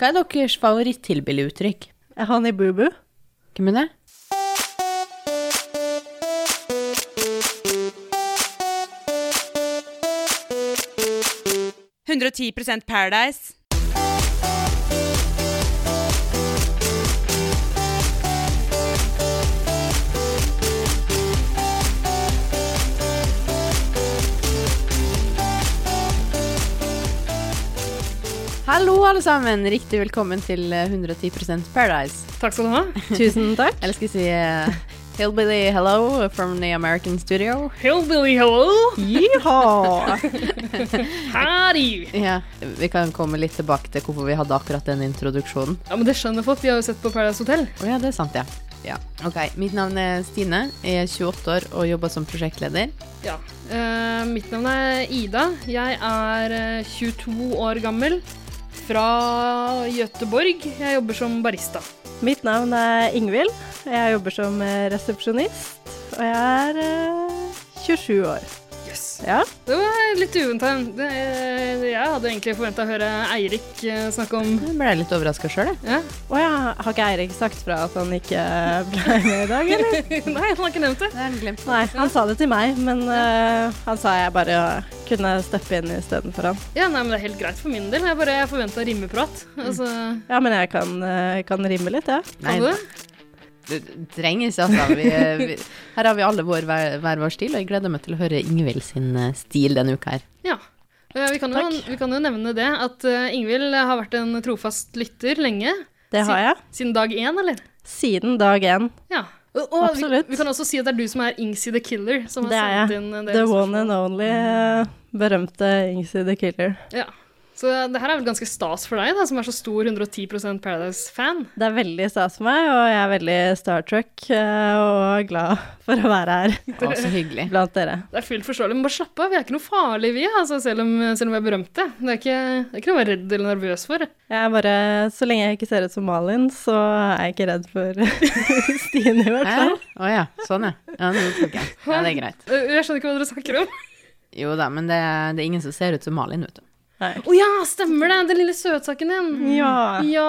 Hva er deres favoritt-tilbilliguttrykk? Han i Bubu. Hvem er det? Paradise. Hallo, alle sammen. Riktig velkommen til eh, 110 Paradise. Takk skal du ha. Tusen takk. Eller skal jeg si eh, Hillbilly hello from the American studio. Hillbilly hello. Jiha! Howdy. Ja, Vi kan komme litt tilbake til hvorfor vi hadde akkurat den introduksjonen. Ja, men det skjønner folk. De har jo sett på Paradise Hotel. Å ja, det er sant, ja. ja. Ok, Mitt navn er Stine. Jeg er 28 år og jobber som prosjektleder. Ja. Eh, mitt navn er Ida. Jeg er eh, 22 år gammel. Fra Gøteborg. Jeg jobber som barista. Mitt navn er Ingvild. Jeg jobber som eh, resepsjonist. Og jeg er eh, 27 år. Yes. Ja. Det var litt uventa. Det, eh, Jeg hadde egentlig forventa å høre Eirik eh, snakke om Jeg ble litt overraska sjøl, jeg. ja. Å ja, har ikke Eirik sagt fra at han ikke eh, ble med i dag, eller? Nei, han har ikke nevnt det. Det er en glemt. Nei, han sa det til meg, men eh, han sa jeg bare kunne steppe inn istedenfor han. Ja, nei, men Det er helt greit for min del. Jeg bare forventa rimeprat. Altså, Ja, men jeg kan, eh, kan rime litt, jeg. Ja. Nei, kan du? det trenger ikke, altså. Vi, vi, her har vi alle vår, hver, hver vår stil, og jeg gleder meg til å høre Ingvild sin eh, stil denne uka her. Ja. Eh, Vi kan, jo, Takk. vi kan jo nevne det at eh, Ingvild har vært en trofast lytter lenge. Det har jeg. Siden dag én, eller? Siden dag én. Ja. Og, og vi, Absolutt. vi kan også si at det er du som er Ingsi the Killer. Som har Det er sendt jeg. inn en del The one spørsmål. and only eh, berømte Ingsy the Killer. Ja. Så eh, det her er vel ganske stas for deg, da, som er så stor 110 Paradise-fan. Det er veldig stas for meg, og jeg er veldig Star Trek eh, og glad for å være her Å, så hyggelig. blant dere. Det er fullt forståelig, men bare slapp av. Vi er ikke noe farlige, vi, altså, selv, om, selv om vi er berømte. Det er, ikke, det er ikke noe å være redd eller nervøs for. Jeg er bare, Så lenge jeg ikke ser ut som Malin, så er jeg ikke redd for Stine, i hvert Hæ? fall. Å ja, sånn ja. Ja, nå tok jeg. ja, det er greit. Eh, Jeg skjønner ikke hva dere snakker om. Jo da, men det, det er ingen som ser ut som Malin, vet du. Nei. Å ja, stemmer det! Den lille søtsaken din. Ja. ja.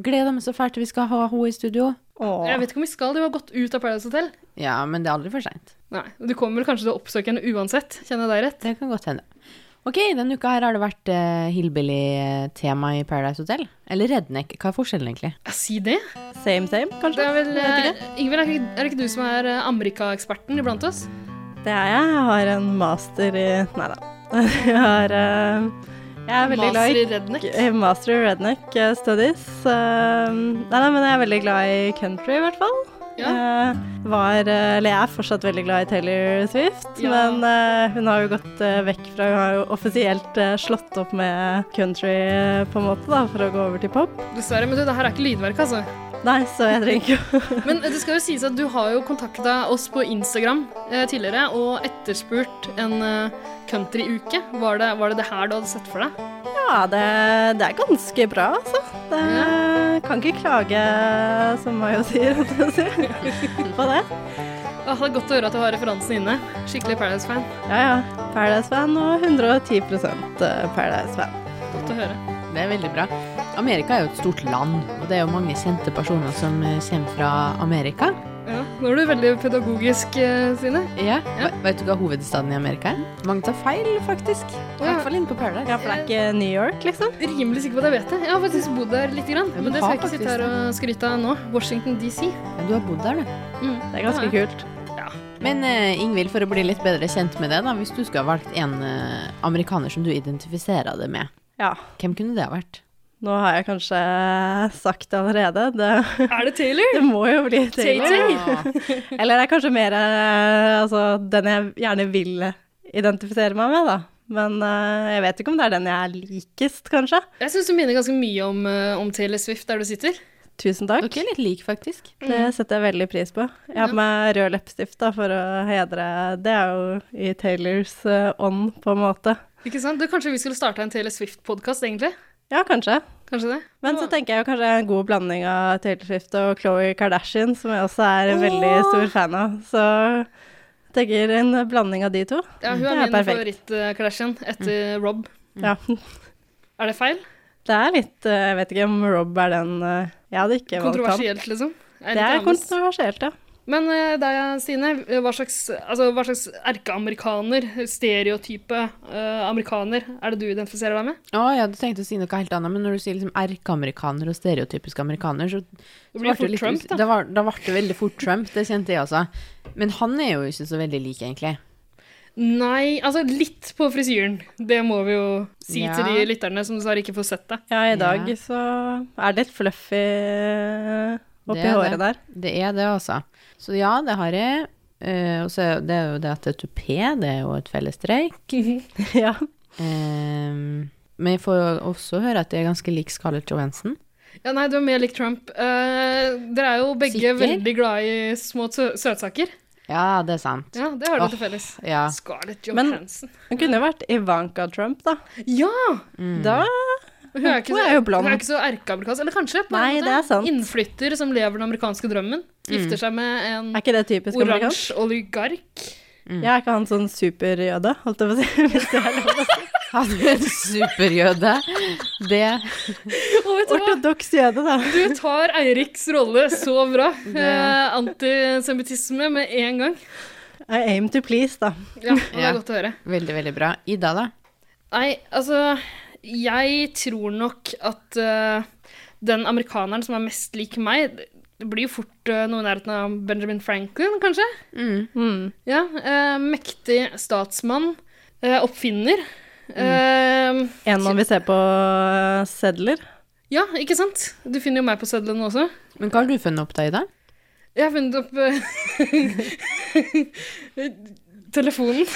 Gleder meg så fælt til vi skal ha henne i studio. Åh. Jeg vet ikke om vi skal, du har gått ut av Paradise Hotel. Ja, men det er aldri for seint. Nei, Du kommer vel kanskje til å oppsøke henne uansett, kjenner jeg deg rett? Det kan godt hende. Ok, denne uka her har det vært eh, hillbilly-tema i Paradise Hotel. Eller redneck. Hva er forskjellen, egentlig? Ja, si det. Same, same, Det kanskje? er vel Jeg vet eh, Ingvild, er, det ikke- er det ikke du som er eh, Amerika-eksperten iblant oss? Det er jeg. Jeg har en master i Nei da. Jeg har eh, Jeg er veldig glad i Master i redneck. Eh, Master i redneck eh, studies. Eh, nei, nei, men jeg er veldig glad i country, i hvert fall. Eh, var, eh, eller jeg er fortsatt veldig glad i Taylor Swift, Ja. men eh, hun har jo gått eh, vekk fra Hun har jo offisielt eh, slått opp med country, eh, på en måte, da, for å gå over til pop. Dessverre, men du, det her er ikke lydverk, altså. Nei, så jeg trenger ikke å Men eh, det skal jo sies at du har jo kontakta oss på Instagram eh, tidligere og etterspurt en eh, countryuke. Var, det- var det det her du hadde sett for deg? Ja, det, det er ganske bra, altså. Det, Kan ikke klage, som Mayo sier, holdt jeg på å si, på det. Åh, det er godt å høre at du har referansen inne. Skikkelig Paradise-fan. Ja, ja. Paradise-fan og eh, 110 Paradise-fan. Godt å høre. Det er veldig bra. Amerika er jo et stort land, og det er jo mange kjente personer som eh, kommer fra Amerika. Ja, nå er du veldig pedagogisk, eh, Sine. Ja. Ve- Vet du hva hovedstaden i Amerika er? Mange tar feil, faktisk. I ja. hvert fall inne på Paradise. Ja, for det er ikke New York, liksom? Rimelig sikker på at jeg vet det. Jeg har faktisk bodd der litt, grann, Ja, du men det skal har jeg ikke sitte faktisk her og skryte av nå. Washington DC. Ja, Du har bodd der, du. Det er ganske kult. Men eh, Ingvild, for å bli litt bedre kjent med deg, da, hvis du skulle ha valgt en eh, amerikaner som du identifiserer deg med, Ja. hvem kunne det ha vært? Nå har jeg kanskje sagt det allerede. Det, Er det Taylor? det må jo bli Taylor. Ah, Eller det er kanskje mer eh, altså, den jeg gjerne vil identifisere meg med, da. Men eh, jeg vet ikke om det er den jeg er likest, kanskje. Jeg syns du minner ganske mye om, eh, om Taylor Swift der du sitter. Tusen takk. Dere er litt like, faktisk. Det setter jeg veldig pris på. Jeg har på meg rød leppestift da, for å hedre Det er jo i Taylors eh, ånd, på en måte. Ikke sant? Du, kanskje vi skulle starta en Taylor Swift-podkast, egentlig? Ja, kanskje. Kanskje det? Men så tenker jeg jo kanskje en god blanding av Taylor Swift og Khloe Kardashian, som jeg også er en veldig stor fan av. Så jeg tenker en blanding av de to. Ja, hun Det er er min perfekt. Mm. favoritt-Kardashian etter Rob. Ja. Er det feil? Det er litt eh, Jeg vet ikke om Rob er den eh, Jeg hadde ikke valgt han. Kontroversielt, liksom. Jeg Det liker er Anders. kontroversielt, ja. Men eh, deg, Stine, hva slags, altså, hva slags erkeamerikaner, stereotype eh, amerikaner, er det du identifiserer deg med? Å, jeg hadde tenkt å si noe helt annet, men når du sier liksom erkeamerikaner og stereotypisk amerikaner, så Det så blir ble fort litt Trump, us- da. Da var- da ble det veldig fort Trump, det kjente jeg også. Men han er jo ikke så veldig lik, egentlig. Nei, altså litt på frisyren. Det må vi jo si Ja. til de lytterne som dessverre ikke får sett det. Ja, i dag Ja. så er det litt fluffy eh, oppi Det er håret der. Det er det, altså. Så ja, det har jeg. Eh, og så er det er jo det at det er tupé, det er jo et fellestrekk. ja. Eh, men jeg får jo også høre at jeg er ganske lik Scarlett Johansen. Ja, nei, du er mer lik Trump. Eh, dere er jo begge Sikker? veldig glad i små sø søtsaker. Ja, det er sant. Ja, det har dere Åh, til felles. Ja. Scarlett Men- Johansen. Hun kunne jo vært Ivanka Trump, da. Ja! Mm. Da Hun er, ikke Hun så, er jo blond. hun er ikke så erkeamerikansk. Eller kanskje på en Nei, måte, det er sant. Mm. innflytter som lever den amerikanske drømmen. Gifter seg med en er ikke det typisk amerikansk? oransje oligark. Mm. Ja, er ikke han sånn superjøde, holdt jeg på å si. Hvis det er lov å si. Han er en superjøde. Det Og vet du hva? Ortodoks jøde, da. Du tar Eiriks rolle så bra. Eh, antisemittisme med en gang. I aim to please, da. Ja, det Ja. er godt å høre. Veldig, veldig bra. Ida, da? Nei, altså Jeg tror nok at eh, den amerikaneren som er mest lik meg Det blir jo fort eh, noe i nærheten av Benjamin Franklin, kanskje? Mm. Mm. Ja, eh, Mektig statsmann. eh, oppfinner. Eh, En man vil se på eh, sedler. ja, ikke sant? Du finner jo meg på sedlene også. Men hva har du funnet opp da, Ida? Jeg har funnet opp eh, telefonen.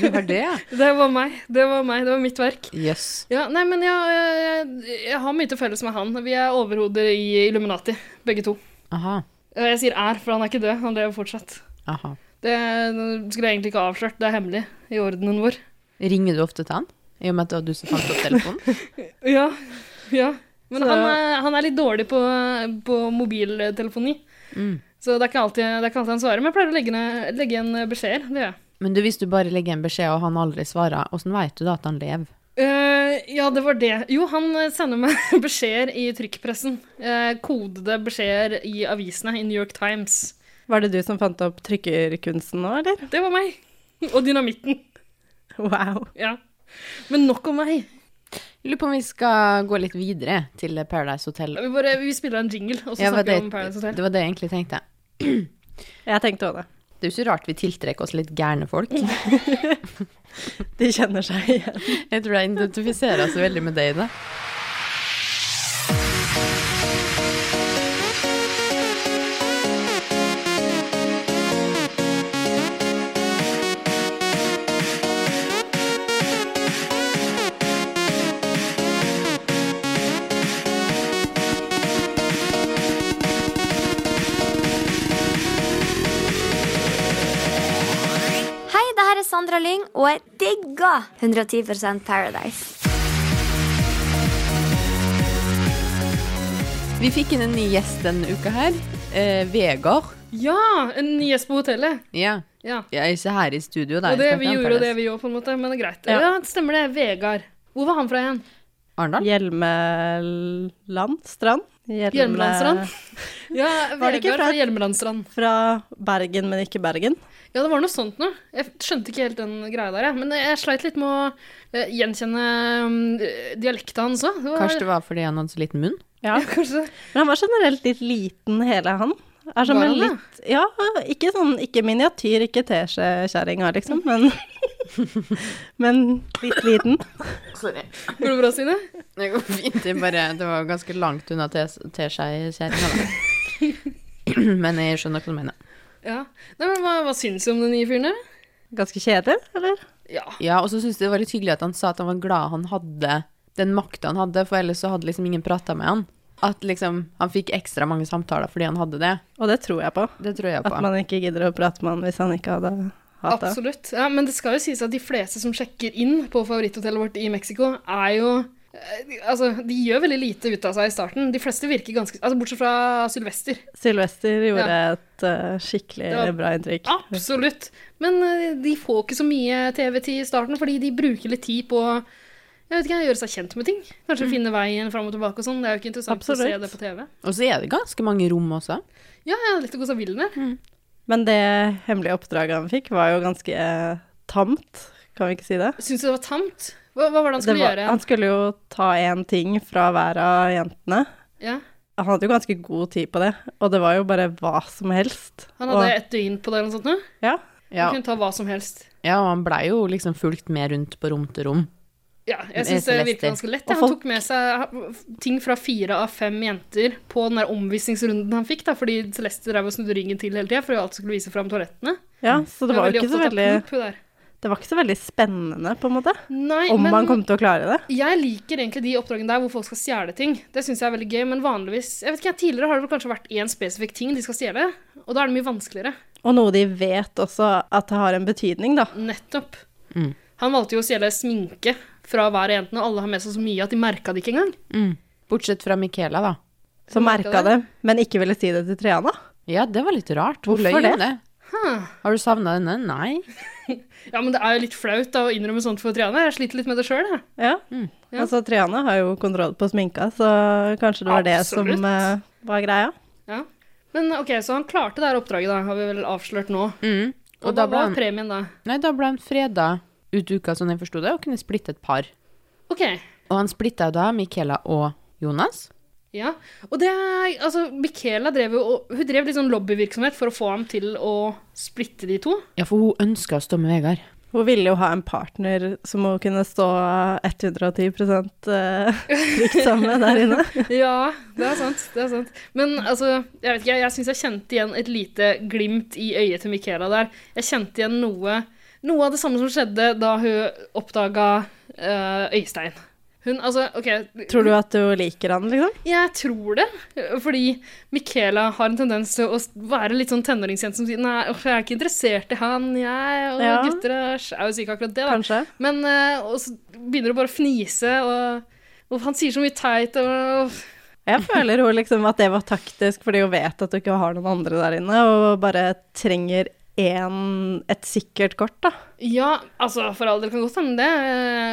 Du har det, ja. Det var meg. Det var meg. Det var mitt verk. Jøss. Ja, nei, men jeg, jeg, jeg har mye til felles med han. Vi er overhoder i Illuminati, begge to. Aha. Eh, Jeg sier er, for han er ikke død. Han lever fortsatt. Aha. Det skulle jeg egentlig ikke ha avslørt. Det er hemmelig i ordenen vår. Ringer du ofte til han? I og med at det var du som fant opp telefonen? Ja, ja. Men Så- han er, han er litt dårlig på, på mobiltelefoni. Mm. Så det er, ikke alltid, det er ikke alltid han svarer, men jeg pleier å legge, ned, legge igjen beskjeder. Det gjør jeg. Men du, hvis du bare legger en beskjed og han aldri svarer, åssen veit du da at han lever? Eh, ja, det var det. Jo, han sender meg beskjeder i trykkpressen. Eh, kodede beskjeder i avisene i New York Times. Var det du som fant opp trykkerkunsten nå, eller? Det var meg. Og dynamitten. Wow. Ja. Men nok om meg. Jeg Lurer på om vi skal gå litt videre til Paradise Hotel. Vi, bare, vi spiller en jingle, og så Ja, var snakker vi det, om Paradise Hotel. det var det jeg egentlig tenkte. Jeg tenkte også det. Det er jo ikke rart vi tiltrekker oss litt gærne folk. De kjenner seg igjen. Jeg tror jeg identifiserer oss veldig med deg i det. Hei, det her er Sandra Lyng, og jeg digger 110 Paradise. Vi fikk inn en ny gjest denne uka her. Eh, Vegard. Ja! En ny gjest på hotellet. Ja. Ja. Jeg er ikke her i studio, da. Og det Jeg snakker vi om gjorde, og det Paradise. vi gjorde, på en måte. Men det er greit. Ja. Ja, stemmer det. Vegard. Hvor var han fra igjen? Arendal? Hjelmeland strand? Hjelme- Hjelmelandstrand? Ja, Var det ikke Vegard fra- fra Hjelmelandstrand. Fra Bergen, men ikke Bergen. Ja, det var noe sånt noe. Jeg skjønte ikke helt den greia der, jeg. Men jeg sleit litt med å eh, gjenkjenne mm, dialekta hans òg. Kanskje det var fordi han hadde så liten munn? Ja. Kanskje det. Men han var generelt litt liten, hele han. Er som Var en han det? litt, ja, ikke sånn, ikke miniatyr, ikke teskjekjerringa, liksom, men, men litt liten. Sorry. Går det bra, Stine? Det går fint. Det, bare, det var ganske langt unna teskjekjerringa, da. Men jeg skjønner hva du mener. Ja. Nei, men hva, hva syns du om den nye fyren der? Ganske kjedelig, eller? Ja. Ja, og så syns jeg det var litt hyggelig at han sa at han var glad han hadde den makta han hadde, for ellers så hadde liksom ingen prata med han. At liksom han fikk ekstra mange samtaler fordi han hadde det. Og det tror jeg på. Det tror jeg At på. man ikke gidder å prate med han hvis han ikke hadde hatt det. Absolutt. Ja, men det skal jo sies at de fleste som sjekker inn på favoritthotellet vårt i Mexico, er jo eh, de- Altså, de gjør veldig lite ut av seg i starten. De fleste virker ganske Altså, bortsett fra Sylvester. Sylvester gjorde et eh, skikkelig Det var- bra inntrykk. Absolutt. Men eh, de får ikke så mye TV-tid i starten, fordi de bruker litt tid på Jeg vet ikke, Gjøre seg kjent med ting. Kanskje finne veien fram og tilbake og sånn. Det er jo ikke interessant å Mm. Absolutt. se det på TV. Og så er det ganske mange rom også. Ja, jeg hadde litt å gå seg vill med. Mm. Men det hemmelige oppdraget han fikk, var jo ganske eh, tamt, kan vi ikke si det? Syns du det var tamt? Hva, hva var det han skulle det var, gjøre? han skulle jo ta én ting fra hver av jentene. Ja. Han hadde jo ganske god tid på det, og det var jo bare hva som helst. Han hadde og, et døgn på det eller noe sånt. nå. ja, Ja, Han kunne ta hva som helst. ja og han blei jo liksom fulgt med rundt på rom til rom. Ja, jeg Det er syns det så lester. virker ganske lett. Og Han folk- tok med seg ting fra fire av fem jenter på den der omvisningsrunden han fikk, da, fordi Celeste drev og snudde ryggen til hele tida for hun alltid skulle vise fram toalettene. ja, så det Hun var er jo ikke så opptatt av veldig, poop, hun der. det var ikke så veldig spennende, på en måte, Nei, om men han kom til å klare det. jeg liker egentlig de oppdragene der hvor folk skal stjele ting. Det syns jeg er veldig gøy, men vanligvis jeg vet ikke, Tidligere har det vel kanskje vært én spesifikk ting de skal stjele, og da er det mye vanskeligere. Og noe de vet også at det har en betydning, da. Nettopp. Mm. Han valgte jo å stjele sminke fra hver av jentene, og alle har med seg så mye at de merka det ikke engang. Bortsett fra Michaela, da. Så Hun merket merka det, men ikke ville si det til Triana. Ja, det var litt rart. Hun Hvorfor løy det? om det. Huh. Har du savna denne? Nei. Ja, men det er jo litt flaut da, å innrømme sånt for Triana. Jeg sliter litt med det sjøl, jeg. Ja. Ja. Altså, Triana har jo kontroll på sminka, så kanskje det var det som Absolutt. eh, var greia. Ja. Men OK, så han klarte det her oppdraget, da, har vi vel avslørt nå. Mm. Og, Og da hva ble var han, premien da? nei, da ble han freda ut uka, sånn jeg forsto det, og kunne splitte et par. OK. Og han splitta da Michaela og Jonas. Ja. Og det er Altså, Michaela drev jo og Hun drev litt sånn lobbyvirksomhet for å få ham til å splitte de to. Ja, for hun ønska å stå med Vegard. Hun ville jo ha en partner som hun kunne stå 110 eh, trygt sammen med der inne. Ja, det er sant. Det er sant. Men altså, jeg vet ikke, jeg, jeg syns jeg kjente igjen et lite glimt i øyet til Michaela der. Jeg kjente igjen noe Noe av det samme som skjedde da hun oppdaga eh, Øystein. Hun, altså, OK Tror du at du liker han, liksom? Jeg tror det, fordi Michaela har en tendens til å være litt sånn tenåringsjente som sier nei, åh, jeg er ikke interessert i han, jeg, og Ja. gutter er er jo sikkert akkurat det, da. Kanskje? Men eh, og så begynner hun bare å fnise, og, og han sier så mye teit, og Jeg føler hun liksom at det var taktisk, fordi hun vet at hun ikke har noen andre der inne, og bare trenger en, et sikkert kort, da. Ja, altså, for all del kan godt hende det.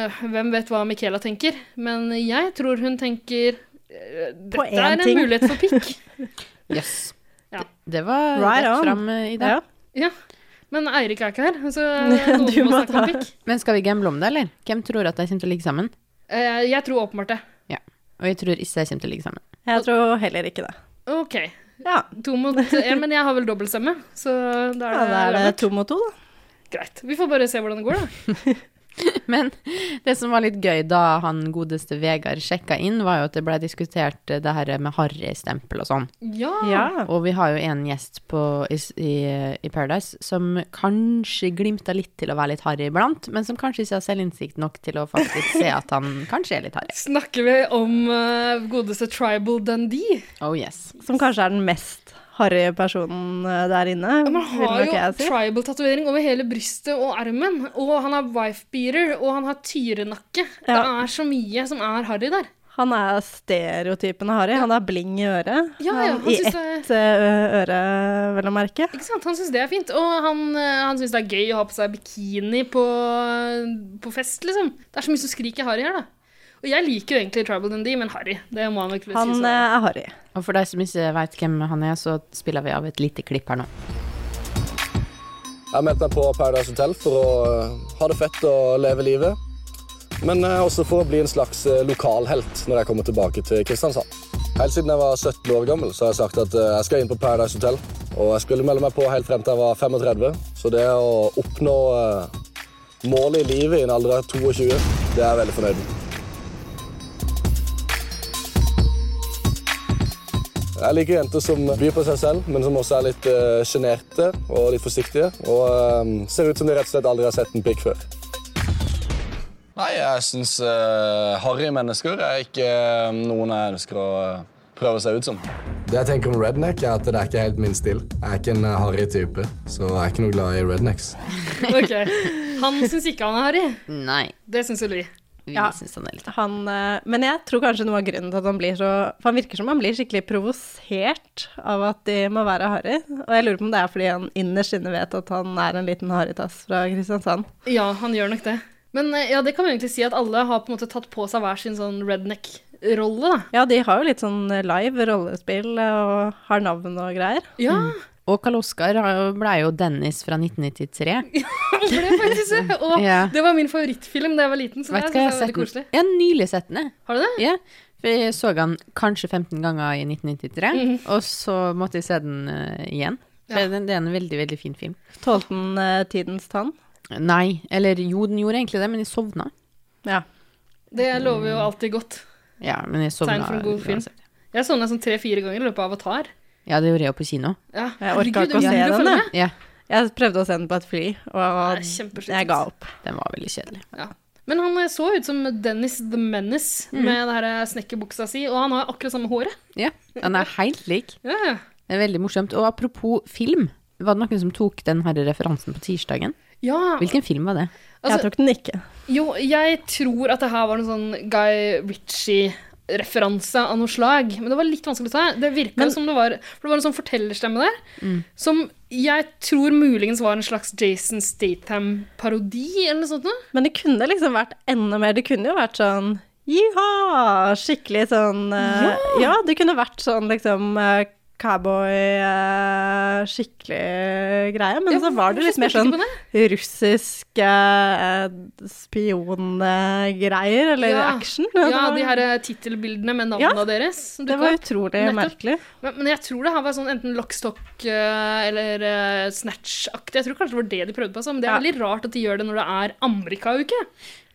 Eh, Hvem vet hva Michaela tenker? Men jeg tror hun tenker eh, På dette én er en ting. mulighet for pikk. Yes. Ja. Det, det var Right rett on. fram eh, i det. Ja. ja. Men Eirik er ikke her, så Ja, noen du må må snakke om ta- pikk. Men skal vi gamble om det, eller? Hvem tror at de kommer til å ligge sammen? Eh, Jeg tror åpenbart det. Og jeg tror ikke de kommer til å ligge sammen. Jeg tror heller ikke det. OK. Ja, To mot én, men jeg har vel dobbeltstemme, så da ja da er det, er det Lambert. to mot to, da. Greit. Vi får bare se hvordan det går, da. Men det som var litt gøy da han godeste Vegard sjekka inn, var jo at det ble diskutert eh, det her med harry-stempel og sånn. Ja. Ja. Og vi har jo en gjest på, i, s- i, eh, i Paradise som kanskje glimta litt til å være litt harry iblant, men som kanskje ikke har selvinnsikt nok til å faktisk se at han kanskje er litt harry. Snakker vi om eh, godeste Tribal Dundee? Oh yes. Som kanskje er den mest harry personen eh, der inne, Ja, Man vil har nok jo jeg si. tribal-tatovering over hele brystet og armen. Og han har wife-beater, og han har tyrenakke. Det Ja. er så mye som er harry der. Han er stereotypen av harry. Han har bling i øret. Ja, ja, han I synes ett eh, øre, vel å merke. Ikke sant? Han syns det er fint. Og han, eh, han syns det er gøy å ha på seg bikini på, på fest, liksom. Det er så mye som skriker harry her, da. Og jeg liker jo egentlig Tribal Dundee, men harry, det må han vel kunne Han si. eh, så- er harry. Og for deg som ikke veit hvem han er, så spiller vi av et lite klipp her nå. Jeg meldte meg på Paradise Hotel for å eh, ha det fett og leve livet. Men eh, også for å bli en slags eh, lokalhelt når jeg kommer tilbake til Kristiansand. Helt siden jeg var 17 år gammel, så har jeg sagt at eh, jeg skal inn på Paradise Hotel. Og jeg skulle melde meg på helt frem til jeg var 35. Så det å oppnå eh, målet i livet i en alder av 22, det er jeg veldig fornøyd med. Jeg liker jenter som byr på seg selv, men som også er litt eh, sjenerte og litt forsiktige. Og eh, ser ut som de rett og slett aldri har sett en pikk før. Nei, jeg syns harry mennesker er ikke eh, noen jeg ønsker å eh, prøve seg ut som. Det jeg tenker om redneck, er at det er ikke helt min stil. Jeg er ikke en eh, harry type, så jeg er ikke noe glad i rednecks. Ok. Han syns ikke han er harry. Nei, Det syns vel vi. vi Ja. syns han er litt Han, eh, men jeg tror kanskje noe av grunnen til at han blir så For han virker som han blir skikkelig provosert av at de må være harry. Og jeg lurer på om det er fordi han innerst inne vet at han er en liten harrytass fra Kristiansand. Ja, han gjør nok det. Men eh, ja, det kan vi egentlig si at alle har på en måte tatt på seg hver sin sånn redneck-rolle, da. Ja, de har jo litt sånn live rollespill eh, og har navn og greier. Ja, Og Karl Oskar har jo- ble jo Dennis fra 1993. det ble faktisk det. Og Ja. det var min favorittfilm da jeg var liten, så det Vet du synes hva jeg jeg har var veldig sett koselig. den? Jeg har nylig sett den, jeg. Har du det? Ja, for jeg så den kanskje 15 ganger i 1993, og så måtte jeg se den eh, igjen. For Mhm. Ja. den, det er en veldig, veldig fin film. Tålte den eh, tidens tann? Nei, eller jo, den gjorde egentlig det, men jeg sovna. Ja. Det lover jo alltid godt. Ja, men Sånn jeg sovna. Tegn for en god film. uansett. Jeg så den sånn tre-fire ganger i løpet av Avatar. Ja, det gjorde jeg på kino. Ja. Jeg orka Herregud, ikke å se jeg orker den, følge jeg. med. Ja, Jeg prøvde å se den på et fly, og Det er kjempeslitsomt. jeg ga opp. den var veldig kjedelig. Men han eh, så ut som Dennis the Menace med det her eh, snekkerbuksa si, og han har akkurat samme håret. Ja, den er helt lik. Ja, ja. Det er veldig morsomt. Og apropos film, var det noen som tok den her referansen på tirsdagen? ja Hvilken film var det? Altså- jeg tok den ikke. jo, jeg tror at det her var en sånn Guy Ritchie-referanse av noe slag, men det var litt vanskelig å ta. Det virka som det var For det var en sånn fortellerstemme der, Mm. som jeg tror muligens var en slags Jason Statham-parodi, eller noe sånt noe. Men det kunne liksom vært enda mer. Det kunne jo vært sånn Jiha! Skikkelig sånn eh, ja! det kunne vært sånn liksom eh, cowboy eh, Skikkelig greie. Men Ja, så var det hvorfor litt mer spilte sånn ikke på russisk eh, spiongreier, eller Ja. action. Ja, det, de var, her eh, tittelbildene med navnene Ja, deres. som det dukket var opp. utrolig Nettopp. merkelig. Men, men jeg tror det her var sånn enten lockstock eh, eller eh, snatch-aktig. Jeg tror kanskje det var det de prøvde på. altså, Men det er Ja. veldig rart at de gjør det når det er Amerika-uke.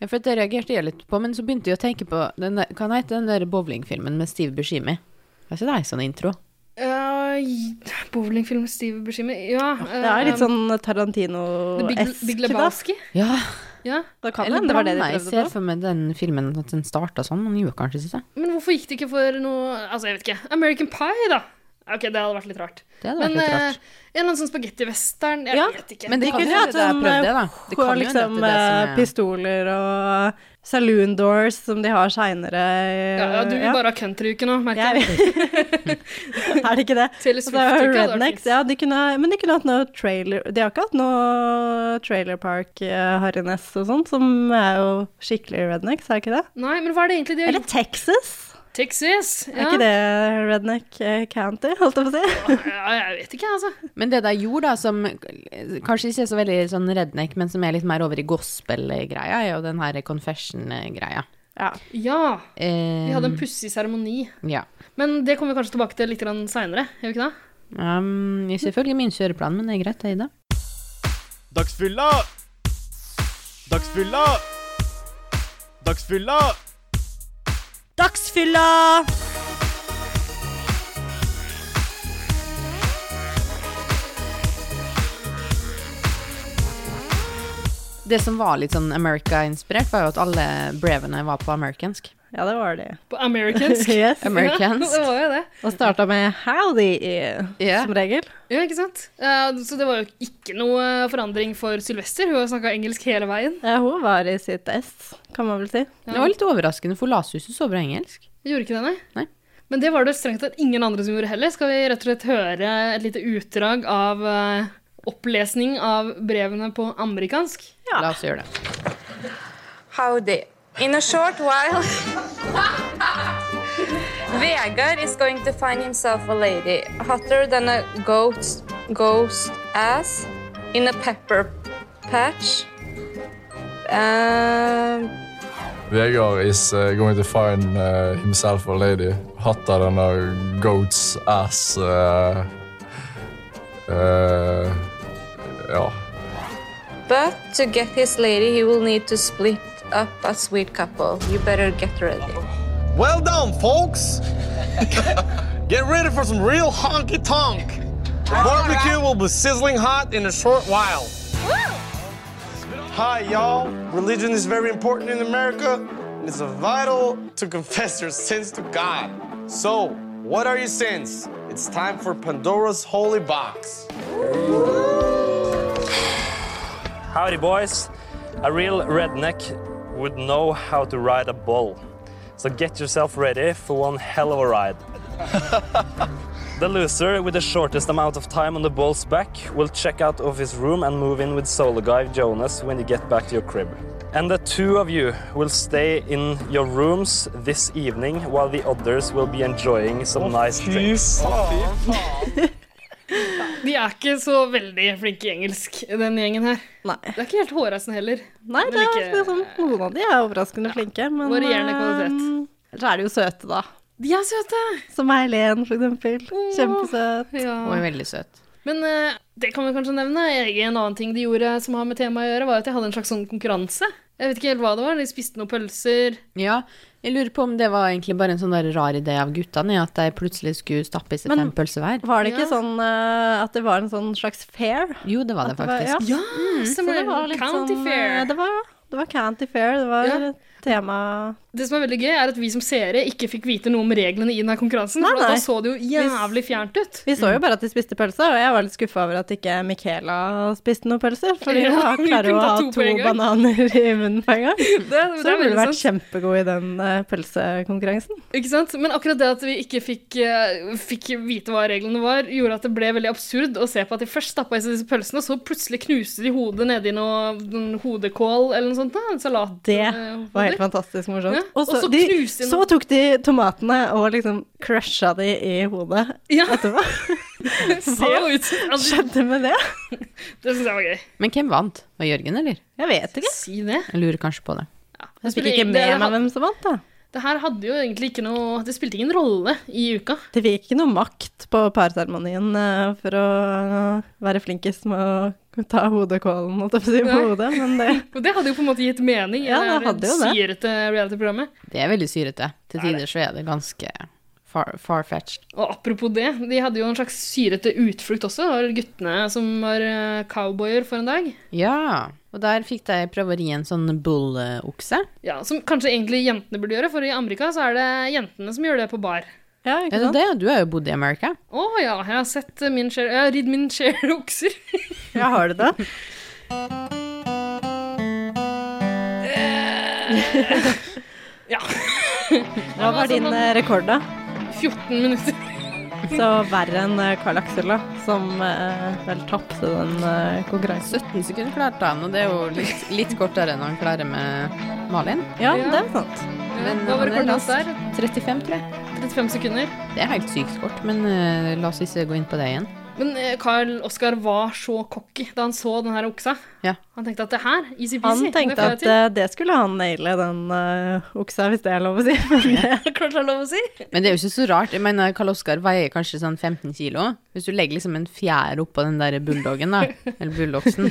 Ja, for det reagerte jeg litt på, men så begynte jeg å tenke på den der, Hva heter den der bowlingfilmen med Steve Buscemi? Hva er det sånn intro? Uh, Bowlingfilm med Steve Buscemi Ja. Det er litt sånn Big, Eh, um, Big Tarantino-esk, da. Lebowski. Ja, Ja. Da kan eller det, det var det de blanda. Jeg prøvde ser på. for meg den filmen at den starta sånn, men den gjorde kanskje ikke det. Men hvorfor gikk det ikke for noe Altså, jeg vet ikke. American Pie, da. Ok, det hadde vært litt rart. Det hadde vært Men litt eh, rart. en eller annen sånn spagettivestern Jeg Ja, vet ikke. Men det De kan kunne jo hatt hende jeg en, prøvde det, da. Det Og kan jo hende at liksom det er det eh, som er pistoler og saloon doors som de har seinere. ja, ja, du vil bare ha countryuke nå, merker jeg. jeg, Er det ikke det? Og så er Taylor Swift-uke hadde vært Rednecks, fint. ja, de kunne, men de kunne hatt noe trailer De har ikke hatt noe Trailer Park eh, Harryness og sånn, som er jo skikkelig rednecks, er det ikke det? Nei, men hva er det egentlig de har Eller gjort? Texas? Texas? Er ikke det redneck eh, county, holdt jeg på å si? Ja, jeg vet ikke, altså. Men det der gjorde, da, som eh, kanskje ikke er så veldig sånn redneck, men som er litt mer over i gospel-greia, er jo den her confession-greia. Ja. Ja. Eh, Vi hadde Um. en pussig seremoni. Ja. Men det kommer vi kanskje tilbake til litt seinere. Hva Um, jeg selvfølgelig min kjøreplan, men det er greit, det, Ida. Dagsfylla! Dagsfylla! Dagsfylla! Dagsfylla! Det som var litt sånn America-inspirert, var jo at alle brevene var på amerikansk. ja, det var de. På amerikansk. Yes. Amerikansk. Ja, det var jo det. Og starta med howdy, Ja. som regel. Ja, ikke sant? Eh, så det var jo ikke noe eh, forandring for Sylvester. Hun har snakka engelsk hele veien. Ja, hun var i sitt ess, kan man vel si. Det var litt overraskende, for Lashuset så bra engelsk. Gjorde ikke det, nei? Nei. Men det var det strengt tatt ingen andre som gjorde heller. Skal vi rett og slett høre et lite utdrag av eh, opplesning av brevene på amerikansk? La oss gjøre det. Howdy. In a short while, Vegard is going to find himself a lady hotter than a goat's ghost ass in a pepper patch. Um, Vegard is uh, going to find uh, himself a lady hotter than a goat's ass. Uh, uh, ja. but to get his lady, he will need to split up a sweet couple. You better get ready. Well done, folks! Get ready for some real honky tonk. The barbecue will be sizzling hot in a short while. Hi, y'all. Religion is very important in America, and it's vital to confess your sins to God. So, what are your sins? It's time for Pandora's Holy Box. Howdy, boys. A real redneck would know how to ride a bull. So get yourself ready for one hell of a ride. the loser with the shortest amount of time on the bull's back will check out of his room and move in with solo guy Jonas when you get back to your crib. And the two of you will stay in your rooms this evening while the others will be enjoying some nice drinks. De er ikke så veldig flinke i engelsk, den gjengen her. Nei. Det er ikke helt hårreisende heller. Nei, det Men er ikke- liksom, noen av de er overraskende flinke, men varierende kvalitet. eh, Så er de jo søte, da. De er søte! Som Eileen, for eksempel. Kjempesøt. Hun Ja. er veldig søt. Men eh, det kan vi kanskje nevne. En annen ting de gjorde som har med temaet å gjøre, var at de hadde en slags sånn konkurranse. Jeg vet ikke helt hva det var. De spiste noen pølser. Ja, jeg lurer på om det var egentlig bare en sånn der rar idé av guttene, ja, at de plutselig skulle stappe i seg Men- fem pølser hver. Var det ikke Ja. sånn eh, at det var en sånn slags fair? Jo, det var det At det var- faktisk. ja. Så Mm, Så det var litt County sånn, eh, Fair. Det var, det var County Fair, det var Ja. tema Det som er veldig gøy, er at vi som seere ikke fikk vite noe om reglene i denne konkurransen. Nei, for da nei. så det jo jævlig fjernt ut. Vi så jo bare at de spiste pølse, og jeg var litt skuffa over at ikke Michaela spiste noen pølser. Fordi Ja, hun hun klarer kunne å ta ha to to på en gang. bananer i munnen på en gang. Det, det Så er hun ville veldig vært sant. kjempegod i den eh, pølsekonkurransen. Ikke sant? Men akkurat det at vi ikke fikk, eh, fikk vite hva reglene var, gjorde at det ble veldig absurd å se på at de først stappa i seg disse pølsene, og så plutselig knuste de hodet nedi noe noen hodekål eller noe sånt. Da, en salat. Det eh, var hoder. helt fantastisk morsomt. Ja, Og så, og så de, knuste hun- så tok de tomatene og liksom crusha de i hodet. Ja. Vet du hva Det ser jo ut som altså, skjedde med det? Det syns jeg var gøy. Men hvem vant? Var Jørgen, eller? Jeg vet ikke. Si det. Jeg lurer kanskje på det. Jeg fikk spiller ikke ingen- med det meg had- hvem som vant, da. Det her hadde jo egentlig ikke noe Det spilte ingen rolle i uka. De fikk ikke noe makt på parseremonien eh, for å eh, være flinkest med å ta hodekålen holdt jeg på å si, på Nei. hodet, men det Og det hadde jo på en måte gitt mening i Ja, det det her hadde syrete reality-programmet. Det er veldig syrete. Til tider så er det ganske far, far-fetched. Og apropos det, de hadde jo en slags syrete utflukt også. Det var guttene som var eh, cowboyer for en dag. Ja, og der fikk de prøve å ri en sånn bull-okse. Ja, Som kanskje egentlig jentene burde gjøre, for i Amerika så er det jentene som gjør det på bar. Ja, Er ikke det sant? det? Du har jo bodd i Amerika. Å ja, jeg har sett eh, min share Jeg har ridd min share okser. Ja, har du det? Eh, Ja. Hva var din eh, rekord, da? 14 minutter. Så verre enn eh, Karl Aksel, da, som eh, vel tapte den eh, konkurransen. 17 sekunder klarte han, og det er jo litt, litt kortere enn han klarer med Malin. Ja, Ja. det er sant. Men Hva var han er rekorden hans rask. der? 35, tror jeg. 35 sekunder. Det er helt sykt kort, men eh, la oss ikke gå inn på det igjen. Men eh, Carl Oskar var så cocky da han så den her oksa. Ja. Han tenkte at det her, easy-peasy, Han tenkte at det eh, det skulle han naile, den eh, oksa, hvis det er lov å si. eh, får jeg til. Kanskje det er lov å si? Men det er jo ikke så rart. Jeg mener, Karl Oskar veier kanskje sånn 15 kilo. Hvis du legger liksom en fjær oppå den der bulldoggen, da, eller bulldogsen,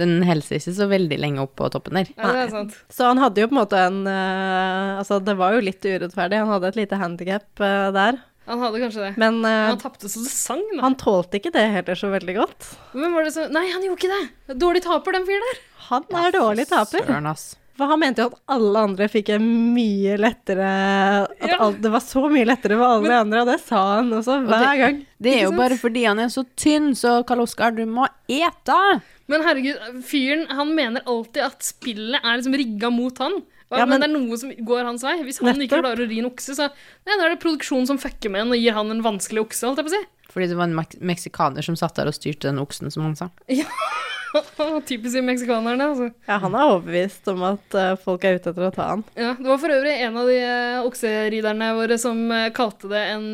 den holder seg ikke så veldig lenge opp på toppen der. Ja, det er sant. Så han hadde jo på en måte en eh, Altså, det var jo litt urettferdig. Han hadde et lite handikap der. Han hadde kanskje det. Men eh, Men han tapte så det sang, da. han tålte ikke det heller så veldig godt. Hvem var det som Nei, han gjorde ikke det! Dårlig taper, den fyren der. Han er dårlig taper. Søren, ass. For han mente jo at alle andre fikk en mye lettere At Ja. alt, det var så mye lettere for alle de andre, og det sa han også hver gang. Det er jo bare fordi han er så tynn, så Karl Oskar, du må ete! Men herregud, fyren han mener alltid at spillet er liksom rigga mot han. Og, Ja, men- men, det er noe som går hans vei. Hvis han ikke Nettopp. klarer å ri en okse, så Nei, da er det produksjonen som fucker med han og gir han en vanskelig okse, holdt jeg på å si. Fordi det var en mek meksikaner som satt der og styrte den oksen, som han sa. Typisk de meksikanerne, altså. Ja, han er overbevist om at eh, folk er ute etter å ta han. Ja, Det var for øvrig en av de eh, okseriderne våre som eh, kalte det en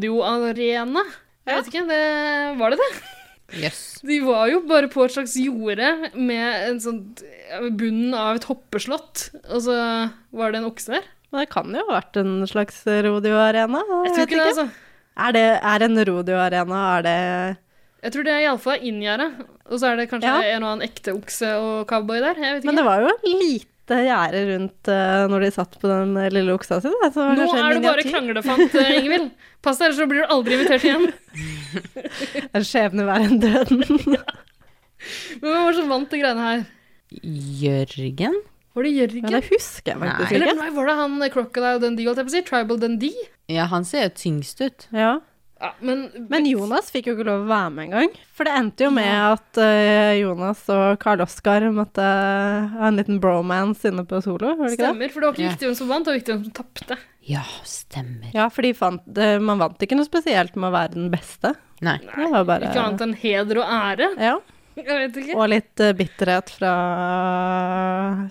rodeoarena. Jeg vet ikke, det, var det det? Jøss. De var jo bare på et slags jorde med en sånn eh, bunnen av et hoppeslott, og så var det en okse der. Men det kan jo ha vært en slags rodeoarena. Jeg tror ikke det, altså. Er, det, er en rodeoarena er det Jeg tror det er iallfall inngjerda, og så er det kanskje Ja. en og annen ekte okse og cowboy der. Jeg vet Men ikke. det var jo lite gjerde rundt eh, når de satt på den eh, lille oksa si. da, så det var Nå kanskje en er du bare miniatyr. kranglefant, eh, Ingvild. Pass deg, ellers så blir du aldri invitert igjen. En skjebne verre enn døden. Men hvem var det som vant de greiene her? Jørgen? Var det Men Jørgen? det husker jeg faktisk Eller ikke. nei, var det han eh, Crocodile Dundee, holdt jeg på å si? Tribal Dundee? Ja, han ser jo tyngst ut. Ja. Ja, men, Men Jonas fikk jo ikke lov å være med engang. For det endte jo med at eh, Jonas og Karl Oskar måtte eh, ha en liten bromance inne på solo. Var det ikke det? stemmer, for det var ikke Ja. viktig hvem som vant, det var viktig hvem som tapte. Ja, stemmer. Ja, for de fant, det- man vant ikke noe spesielt med å være den beste. Nei. Det var bare Ikke annet enn heder og ære. Ja. Jeg vet ikke. Og litt eh, bitterhet eh, fra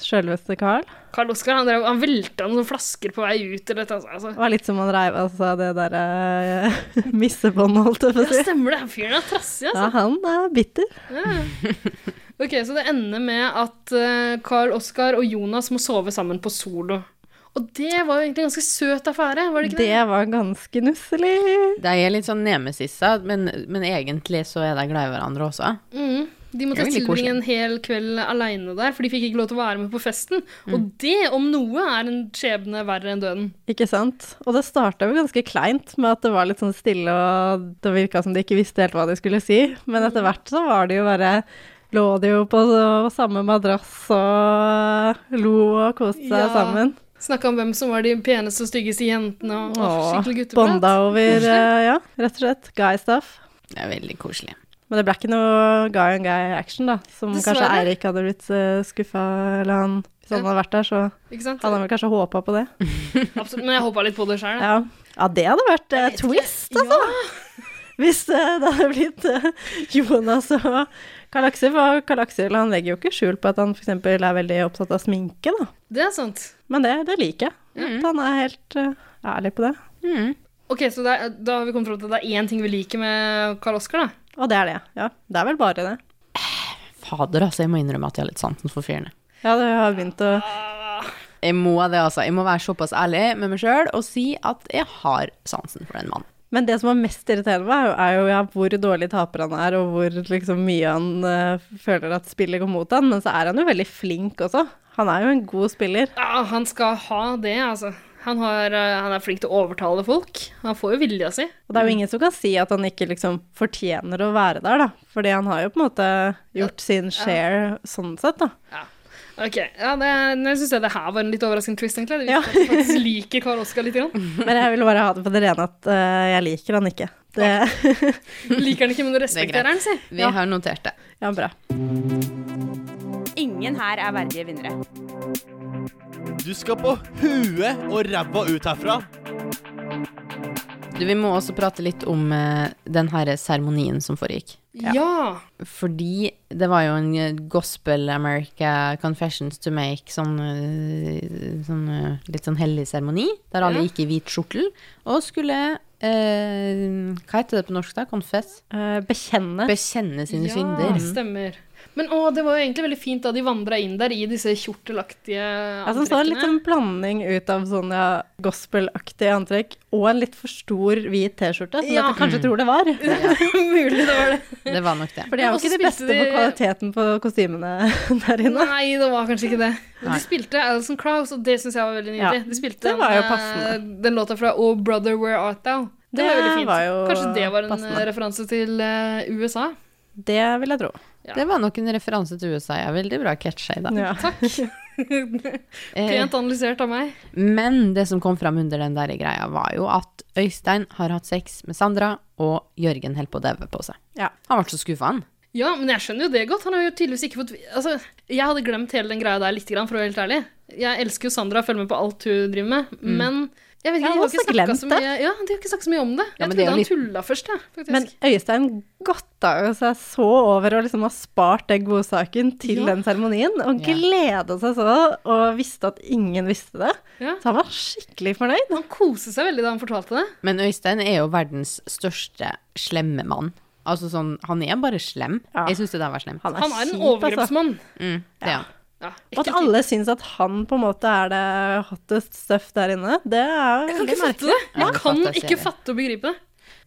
sjølveste Carl. Karl Oskar han, drev- han velta noen flasker på vei ut eller et eller annet. Det Altså. var litt som han reiv av seg det derre eh, missebåndet, holdt jeg på å Ja, si. stemmer det. Han fyren er trassig, altså. Ja, han er bitter. Ok, Så det ender med at eh, Karl Oskar og Jonas må sove sammen på solo. Og det var jo egentlig en ganske søt affære, var det ikke det? Det var ganske nusselig. De er litt sånn nemesissa, men, men egentlig så er de glad i hverandre også. Mm. De måtte Det er jo litt tilbringe en hel kveld aleine der, for de fikk ikke lov til å være med på festen. Og det, om noe, er en skjebne verre enn døden. Ikke sant? Og det starta jo ganske kleint med at det var litt sånn stille, og det virka som de ikke visste helt hva de skulle si. Men Mm. etter hvert så var det jo bare Lå de jo på så- samme madrass og lo og koste seg Ja. sammen. Snakka om hvem som var de peneste og styggeste jentene. Og, og Og skikkelig gutteprat. bonda over eh, Ja, rett og slett. Guy stuff. Det er veldig koselig. Men det ble ikke noe guy on guy action, da. Som kanskje Dessverre. Eirik hadde blitt uh, skuffa, eller han Hvis han hadde vært der, så Ikke sant? hadde han vel kanskje håpa på det. Absolutt. Men jeg håpa litt på det sjøl. Ja, ja det hadde vært eh, twist, altså. Hvis eh, det hadde blitt eh, Jonas og Karl Aksel. For Karl Aksel han legger jo ikke skjul på at han f.eks. er veldig opptatt av sminke, da. Det er sant. Men det, det liker jeg. At han er helt eh, ærlig på det. Ok, Så det er, da har vi kommet fram til at det er én ting vi liker med Karl Oskar, da. Og det er det, ja. Det er vel bare det. Fader, altså, jeg må innrømme at jeg har litt sansen for fyrene. Ja, det har begynt å Jeg må det, altså. Jeg må være såpass ærlig med meg sjøl og si at jeg har sansen for den mannen. Men det som er mest irriterende med meg, er jo ja, hvor dårlig taper han er, og hvor liksom, mye han eh, føler at spillet går mot han, men så er han jo veldig flink også. Han er jo en god spiller. Ja, han skal ha det, altså. Han, har, eh, han er flink til å overtale folk. Han får jo vilja si. Og det er jo ingen som kan si at han ikke liksom fortjener å være der, da. Fordi han har jo på en måte gjort sin share sånn sett, da. Ok, ja, det, Jeg syns det her var en litt overraskende twist, egentlig. Det Ja. viser at jeg faktisk liker Karl Oskar litt. Grann. Men jeg vil bare ha det på det rene at eh, jeg liker han ikke. Det, Liker han ikke, men du Det er respekterer greit. han, si. Vi har notert det. ja, bra. Ingen her er verdige vinnere. Du skal på huet og ræva ut herfra. Du, vi må også prate litt om eh, den her seremonien som foregikk. Ja. Fordi det var jo en eh, Gospel America Confessions to Make, sånn, eh, sånn eh, litt sånn hellig seremoni, der alle Ja. gikk i hvit skjortel og skulle eh, Hva heter det på norsk, da? Confess? Eh, bekjenne. Bekjenne sine ja, Mm. Mm. synder. stemmer. Men å, det var jo egentlig veldig fint da de vandra inn der i disse kjortelaktige Altså, så var det litt en blanding ut av sånn ja, gospelaktig antrekk og en litt for stor hvit T-skjorte, som Ja. dere kanskje tror det var. Mulig det var det. Det var nok det. For de er Ja, jo og så ikke de spilte beste de- på kvaliteten på kostymene der inne. Nei, det var kanskje ikke det. Men Nei. de spilte Alison Krauss, og det syns jeg var veldig nydelig. Ja, De spilte det var jo den, eh, passende. den låta fra Oh Brother Where Art Thou. Det, Det var veldig fint. var jo kanskje det var en eh, passende. referanse til eh, USA. Det vil jeg tro. Ja. Det var nok en referanse til USA. Jeg er veldig bra catcha i dag. Ja. Takk. Eh, Pent analysert av meg. men det som kom fram under den der greia, var jo at Øystein har hatt sex med Sandra, og Jørgen holder på å daue på seg. Ja. Han ble så skuffa, han. Ja, men jeg skjønner jo det godt. Han har jo tydeligvis ikke fått Altså, jeg hadde glemt hele den greia der litt, grann, for å være helt ærlig. Jeg elsker jo Sandra og følger med på alt hun driver med, men jeg vet Mm. Jeg ikke, har de har også ikke snakka glemt så mye Ja, de har ikke snakket så mye om det. Jeg men det er trodde jo han litt- tulla først, jeg, faktisk. Men Øystein godta jo seg så over å liksom ha spart den godsaken til Ja. den seremonien, og Ja. gleda seg så og visste at ingen visste det. Ja. Så han var skikkelig fornøyd. han koste seg veldig da han fortalte det. Men Øystein er jo verdens største slemme mann. Altså sånn, han er bare slem. Ja. Jeg syns det der var slemt. Han er, Han er kjip, en altså. overgrepsmann. Mm, det er han. Ja, Og at ekkel alle syns at han på en måte er det hottest stuff der inne, det er jo veldig type. merkelig. Ja, Jeg kan fantastisk. ikke fatte og begripe det.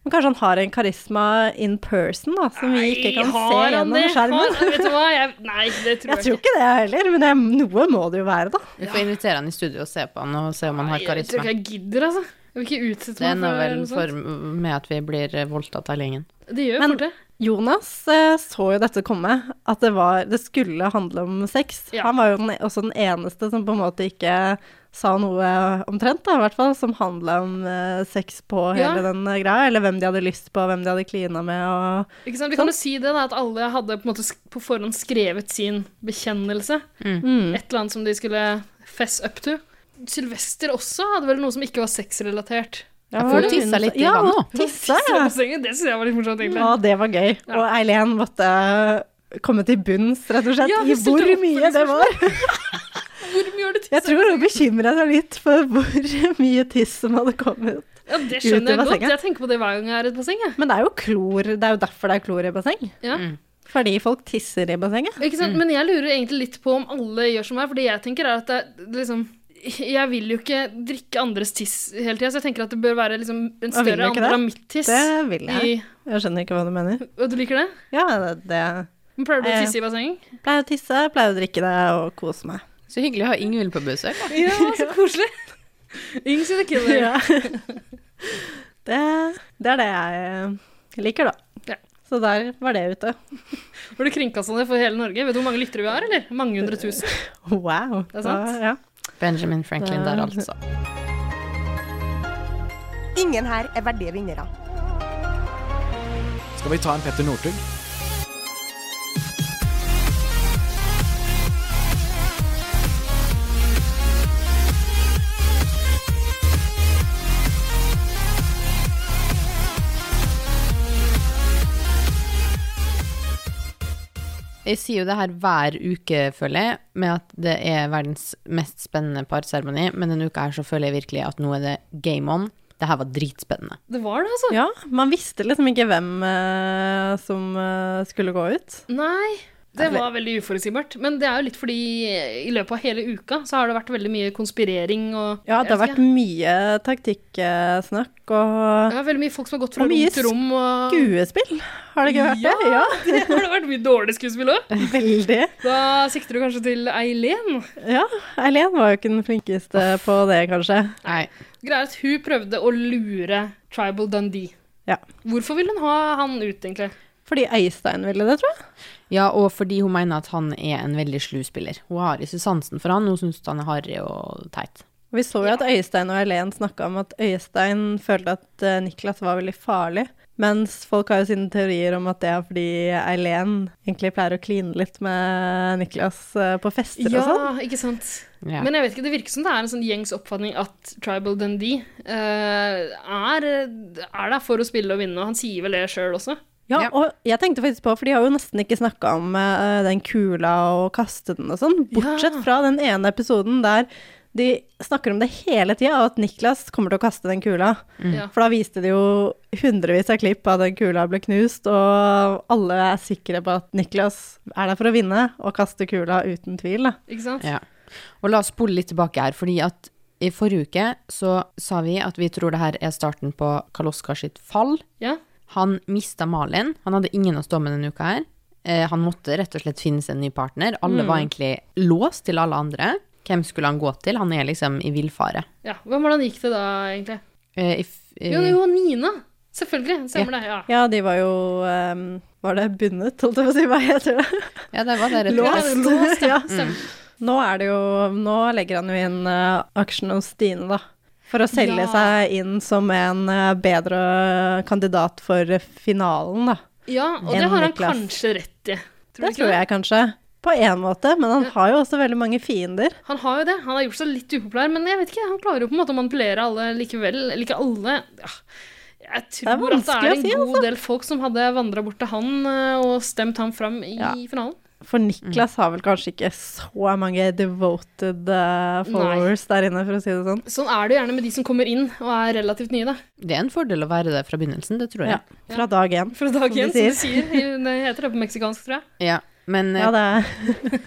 Men kanskje han har en karisma in person da, som vi ikke kan se Har han gjennom det? skjermen. Har- vet du hva? Jeg, nei, det tror Jeg jeg, tror ikke det heller, men det, er- noe må det jo være, da. Vi får invitere han i studio og se på han og se om han har Nei, Jeg karisma. tror ikke jeg gidder, altså. Jeg vil ikke utsette Det meg ender vel for noe for med at vi blir eh, voldtatt av gjengen. sånt. Det gjør jo Men- fort det. Jonas eh, så jo dette komme, at det, var, det skulle handle om sex. Ja. Han var jo den, e, også den eneste som på en måte ikke sa noe omtrent, da, i hvert fall, som handla om eh, sex på Ja. hele den eh, greia, eller hvem de hadde lyst på, hvem de hadde klina med, og Ikke sant? Vi kan jo si det da, at alle hadde på, en måte sk- på forhånd skrevet sin bekjennelse. Mm. Et eller annet som de skulle fess up to. Sylvester også hadde vel noe som ikke var sexrelatert. ja, får var det tissa hun litt som- i ja, vannet, hun da. tissa, Så ja. på sengen, Det syns jeg var litt morsomt, egentlig. Ja, det var gøy. Og Eileen måtte eh, komme til bunns, rett og sånn. slett, Ja, hun i stilte hvor opp for mye det var. Hvor mye har du Jeg tisset? tror hun bekymra seg litt for hvor mye tiss som hadde kommet. Ja, ut det i skjønner jeg godt. bassenget. Jeg tenker på det hver gang jeg er i et basseng. jeg. Men det er jo klor, det er jo derfor det er klor i basseng. Ja. Fordi folk tisser i bassenget. Ikke sant? Men jeg lurer egentlig litt på om alle gjør som meg, fordi jeg tenker er at det er liksom jeg vil jo ikke drikke andres tiss hele tida, så jeg tenker at det bør være liksom en Og vil du ikke større andel det? av mitt tiss. Det vil jeg. i- Jeg skjønner ikke hva du mener. Og du liker det? Ja, det, det Men pleier du å Eh. tisse i basseng? pleier å tisse, pleier å drikke det og kose meg. Så hyggelig å ha Ingvild på besøk. da. Ja, så koselig. Ings in the killer. Ja. Det, det er det jeg liker, da. Ja. Så der var det ute. Var du kringkasta ned for hele Norge? Vet du hvor mange lyttere vi har, eller? Mange hundre tusen. Wow. Det er sant. Da- ja. Benjamin Franklin der, altså. Ingen her er verdige vinnere. Skal vi ta en Petter Northug? Jeg sier jo det her hver uke, føler jeg, med at det er verdens mest spennende parseremoni, men denne uka her så føler jeg virkelig at nå er det game on. Det her var dritspennende. Det var det, altså. ja, man visste liksom ikke hvem eh, som eh, skulle gå ut. Nei. Det Eller- var veldig uforutsigbart. Men det er jo litt fordi eh, i løpet av hele uka så har det vært veldig mye konspirering og Ja, det har Jeg vært vet ikke. mye taktikksnakk og ja, veldig mye folk som har gått fra Og mye rom til rom og skuespill. Har det ikke vært det? Ja, det har det vært mye dårlig skuespill òg. veldig. Da sikter du kanskje til Eileen. Ja, Eileen var jo ikke den flinkeste på det, kanskje. Nei. Greia er at hun prøvde å lure Tribal Dundee. Ja. Hvorfor vil hun ha han ut, egentlig? Fordi Øystein ville det, tror jeg. Ja, og fordi hun mener at han er en veldig slu spiller. Hun har ikke sansen for han, hun syns han er harry og teit. Og Vi så jo at Øystein og Helen snakka om at Øystein følte at eh, Niklas var veldig farlig. Mens folk har jo sine teorier om at det er fordi Eileen egentlig pleier å kline litt med Niklas eh, på fester og sånn. Ja, ikke sant? Ja. Men jeg vet ikke, det virker som det er en sånn gjengs oppfatning at Tribal Dundee eh, er, er der for å spille og vinne, og han sier vel det sjøl også. Ja, og jeg tenkte faktisk på, for de har jo nesten ikke snakka om eh, den kula og kaste den og sånn, bortsett Ja. fra den ene episoden der de snakker om det hele tida, og at Niklas kommer til å kaste den kula. Ja. For da viste de jo hundrevis av klipp av at den kula ble knust, og alle er sikre på at Niklas er der for å vinne og kaste kula uten tvil. Da. Ikke sant? Ja. Og la oss spole litt tilbake her, fordi at i forrige uke så sa vi at vi tror det her er starten på Karl Oskar sitt fall. Ja. Han mista Malin. Han hadde ingen å stå med denne uka her. Eh, han måtte rett og slett finne seg en ny partner. Alle var Mm. egentlig låst til alle andre. Hvem skulle han gå til? Han er liksom i villfare. ja. Hvem var det han gikk til da, egentlig? Eh, if, eh, Jo, jo, Nina. Selvfølgelig. Stemmer det. Ja. Ja, de var jo ehm, Var det bundet, holdt jeg på å si? Hva heter det? Ja, det var det rett og slett. Låst. Låst, ja. Ja. Stemmer. Nå er det jo Nå legger han jo inn eh, aksjen hos Stine, da. For å selge Ja. seg inn som en eh, bedre kandidat for finalen, da. Ja, og Enn det har han Niklas. kanskje rett i. Tror du Det ikke tror jeg kanskje. På én måte, men han har jo også veldig mange fiender. Han har jo det. Han har gjort seg litt upopulær, men jeg vet ikke, han klarer jo på en måte å manipulere alle likevel. Eller ikke alle. Ja. Jeg er tror at det vanskelig er å en si, altså. god del folk som hadde vandra bort til han eh, og stemt ham fram i Ja. finalen. For Mm. Niklas har vel kanskje ikke så mange devoted eh, followers der inne, for å si det sånn. Sånn er det jo gjerne med de som kommer inn og er relativt nye, da. Det er en fordel å være det fra begynnelsen, det tror jeg. Ja, fra dag én. Fra Som dag de én, som de sier. Det heter det på meksikansk, tror jeg. Ja. Men, eh, Ja, det er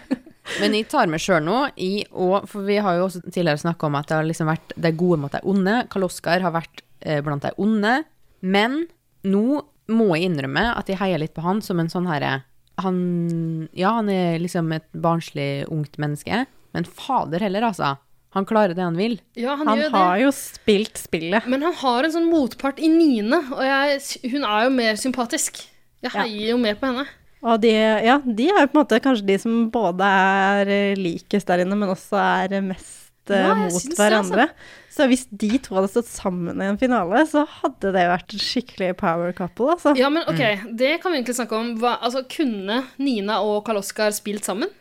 men jeg tar meg sjøl nå i å For vi har jo også tidligere snakka om at det har liksom vært de gode mot de onde. Karl Oskar har vært eh, blant de onde. Men nå må jeg innrømme at jeg heier litt på han som en sånn herre Han Ja, han er liksom et barnslig ungt menneske, men fader heller, altså. Han klarer det han vil. Ja, han, Han gjør det. har jo spilt spillet. Men han har en sånn motpart i Nine, og jeg, hun er jo mer sympatisk. Jeg Ja. heier jo mer på henne. Og de, ja, de er jo på en måte kanskje de som både er eh, likest der inne, men også er eh, mest eh, Ja, jeg mot syns det, altså. hverandre. Så hvis de to hadde stått sammen i en finale, så hadde det vært et skikkelig power couple, altså. Ja, men ok, det kan vi egentlig snakke om. Hva, altså, kunne Nina og Karl Oskar spilt sammen?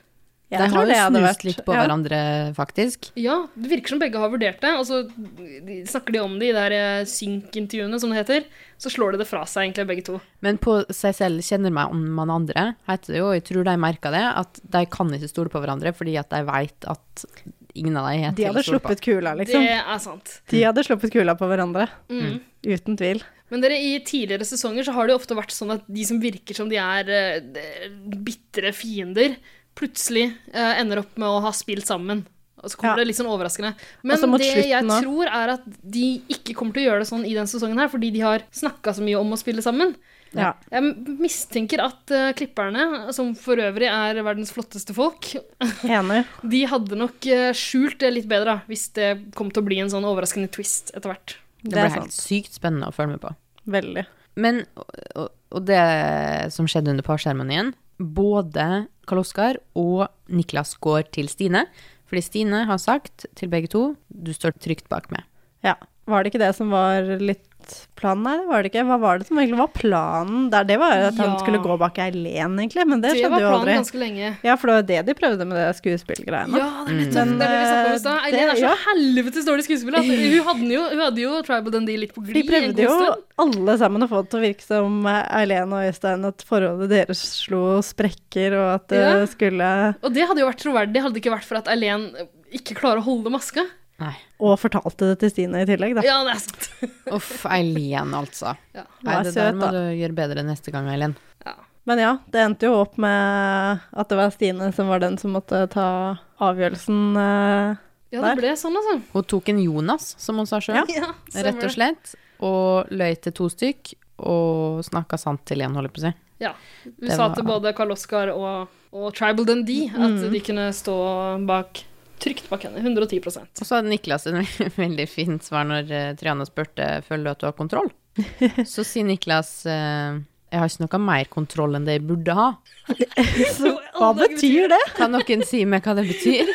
Jeg de tror har det jo hadde vært- snust litt på ja. hverandre, faktisk. Ja, det virker som begge har vurdert det. Og så de- snakker de om det i de der eh, synk-intervjuene, som det heter. Så slår de det fra seg, egentlig, begge to. Men på seg selv kjenner meg om man andre, heter det jo. Jeg tror de merka det, at de kan ikke stole på hverandre fordi at de veit at ingen av dem er De til å stole hadde på. sluppet kula, liksom. Det er sant. De hadde sluppet kula på hverandre. Mm. Uten tvil. Men dere, i tidligere sesonger så har det jo ofte vært sånn at de som virker som de er eh, de- bitre fiender, plutselig eh, ender opp med å ha spilt sammen. Og så kommer det litt sånn overraskende. Men Også Altså, mot det slutten jeg nå. tror er at de ikke kommer til å gjøre det sånn i denne sesongen her, fordi de har snakka så mye om å spille sammen. Ja. Jeg m- mistenker at eh, klipperne, som for øvrig er verdens flotteste folk, Enig. de hadde nok eh, skjult det litt bedre da, hvis det kom til å bli en sånn overraskende twist etter hvert. Det ble helt sykt spennende å følge med på. Veldig. Men, og, og det som skjedde under parseremonien Både Karl Oskar og Niklas går til Stine. Fordi Stine har sagt til begge to du står trygt bak meg. Ja. Var det ikke det som var litt planen? Nei, det var det ikke. Hva var det som egentlig var planen der? Det var jo at han Ja. skulle gå bak Eileen, egentlig, men det, Det var skjedde jo planen aldri. ganske lenge. Ja, for det var jo det de prøvde med det skuespillgreiene. Ja, det er nettopp det er det vi snakket om i stad. Eileen er så helvetes dårlig skuespiller. at Hun hadde jo, hun hadde jo Tribal Dundee litt på De glid en prøvde god jo stund. alle sammen å få det til å virke som eh, Eileen og Øystein, at forholdet deres slo sprekker, og at det Ja. skulle Og det hadde jo vært troverdig, hadde det ikke vært for at Eileen ikke klarer å holde maska. Og fortalte det til Stine i tillegg, da. Ja, det er sant. Uff, Eileen, altså. Hun er Nei, det der søt, må da. du gjøre bedre neste gang, Eileen. Men ja, det endte jo opp med at det var Stine som var den som måtte ta avgjørelsen eh, Ja, det ble sånn, altså. Hun tok en Jonas, som hun sa sjøl, Ja, stemmer rett og det. slett. Og løy til to stykk, og snakka sant til én, holder jeg på å si. Ja. Hun Det sa var- til både Karl Oskar og, og Tribal Dundee at de kunne stå bak, trygt bak henne. 110 Og så hadde Niklas en ve- veldig fin svar når eh, Triana spurte føler du at du har kontroll. Så sier Niklas eh, jeg har ikke noe mer kontroll enn det jeg burde ha. Hva betyr det? Kan noen si meg hva det betyr?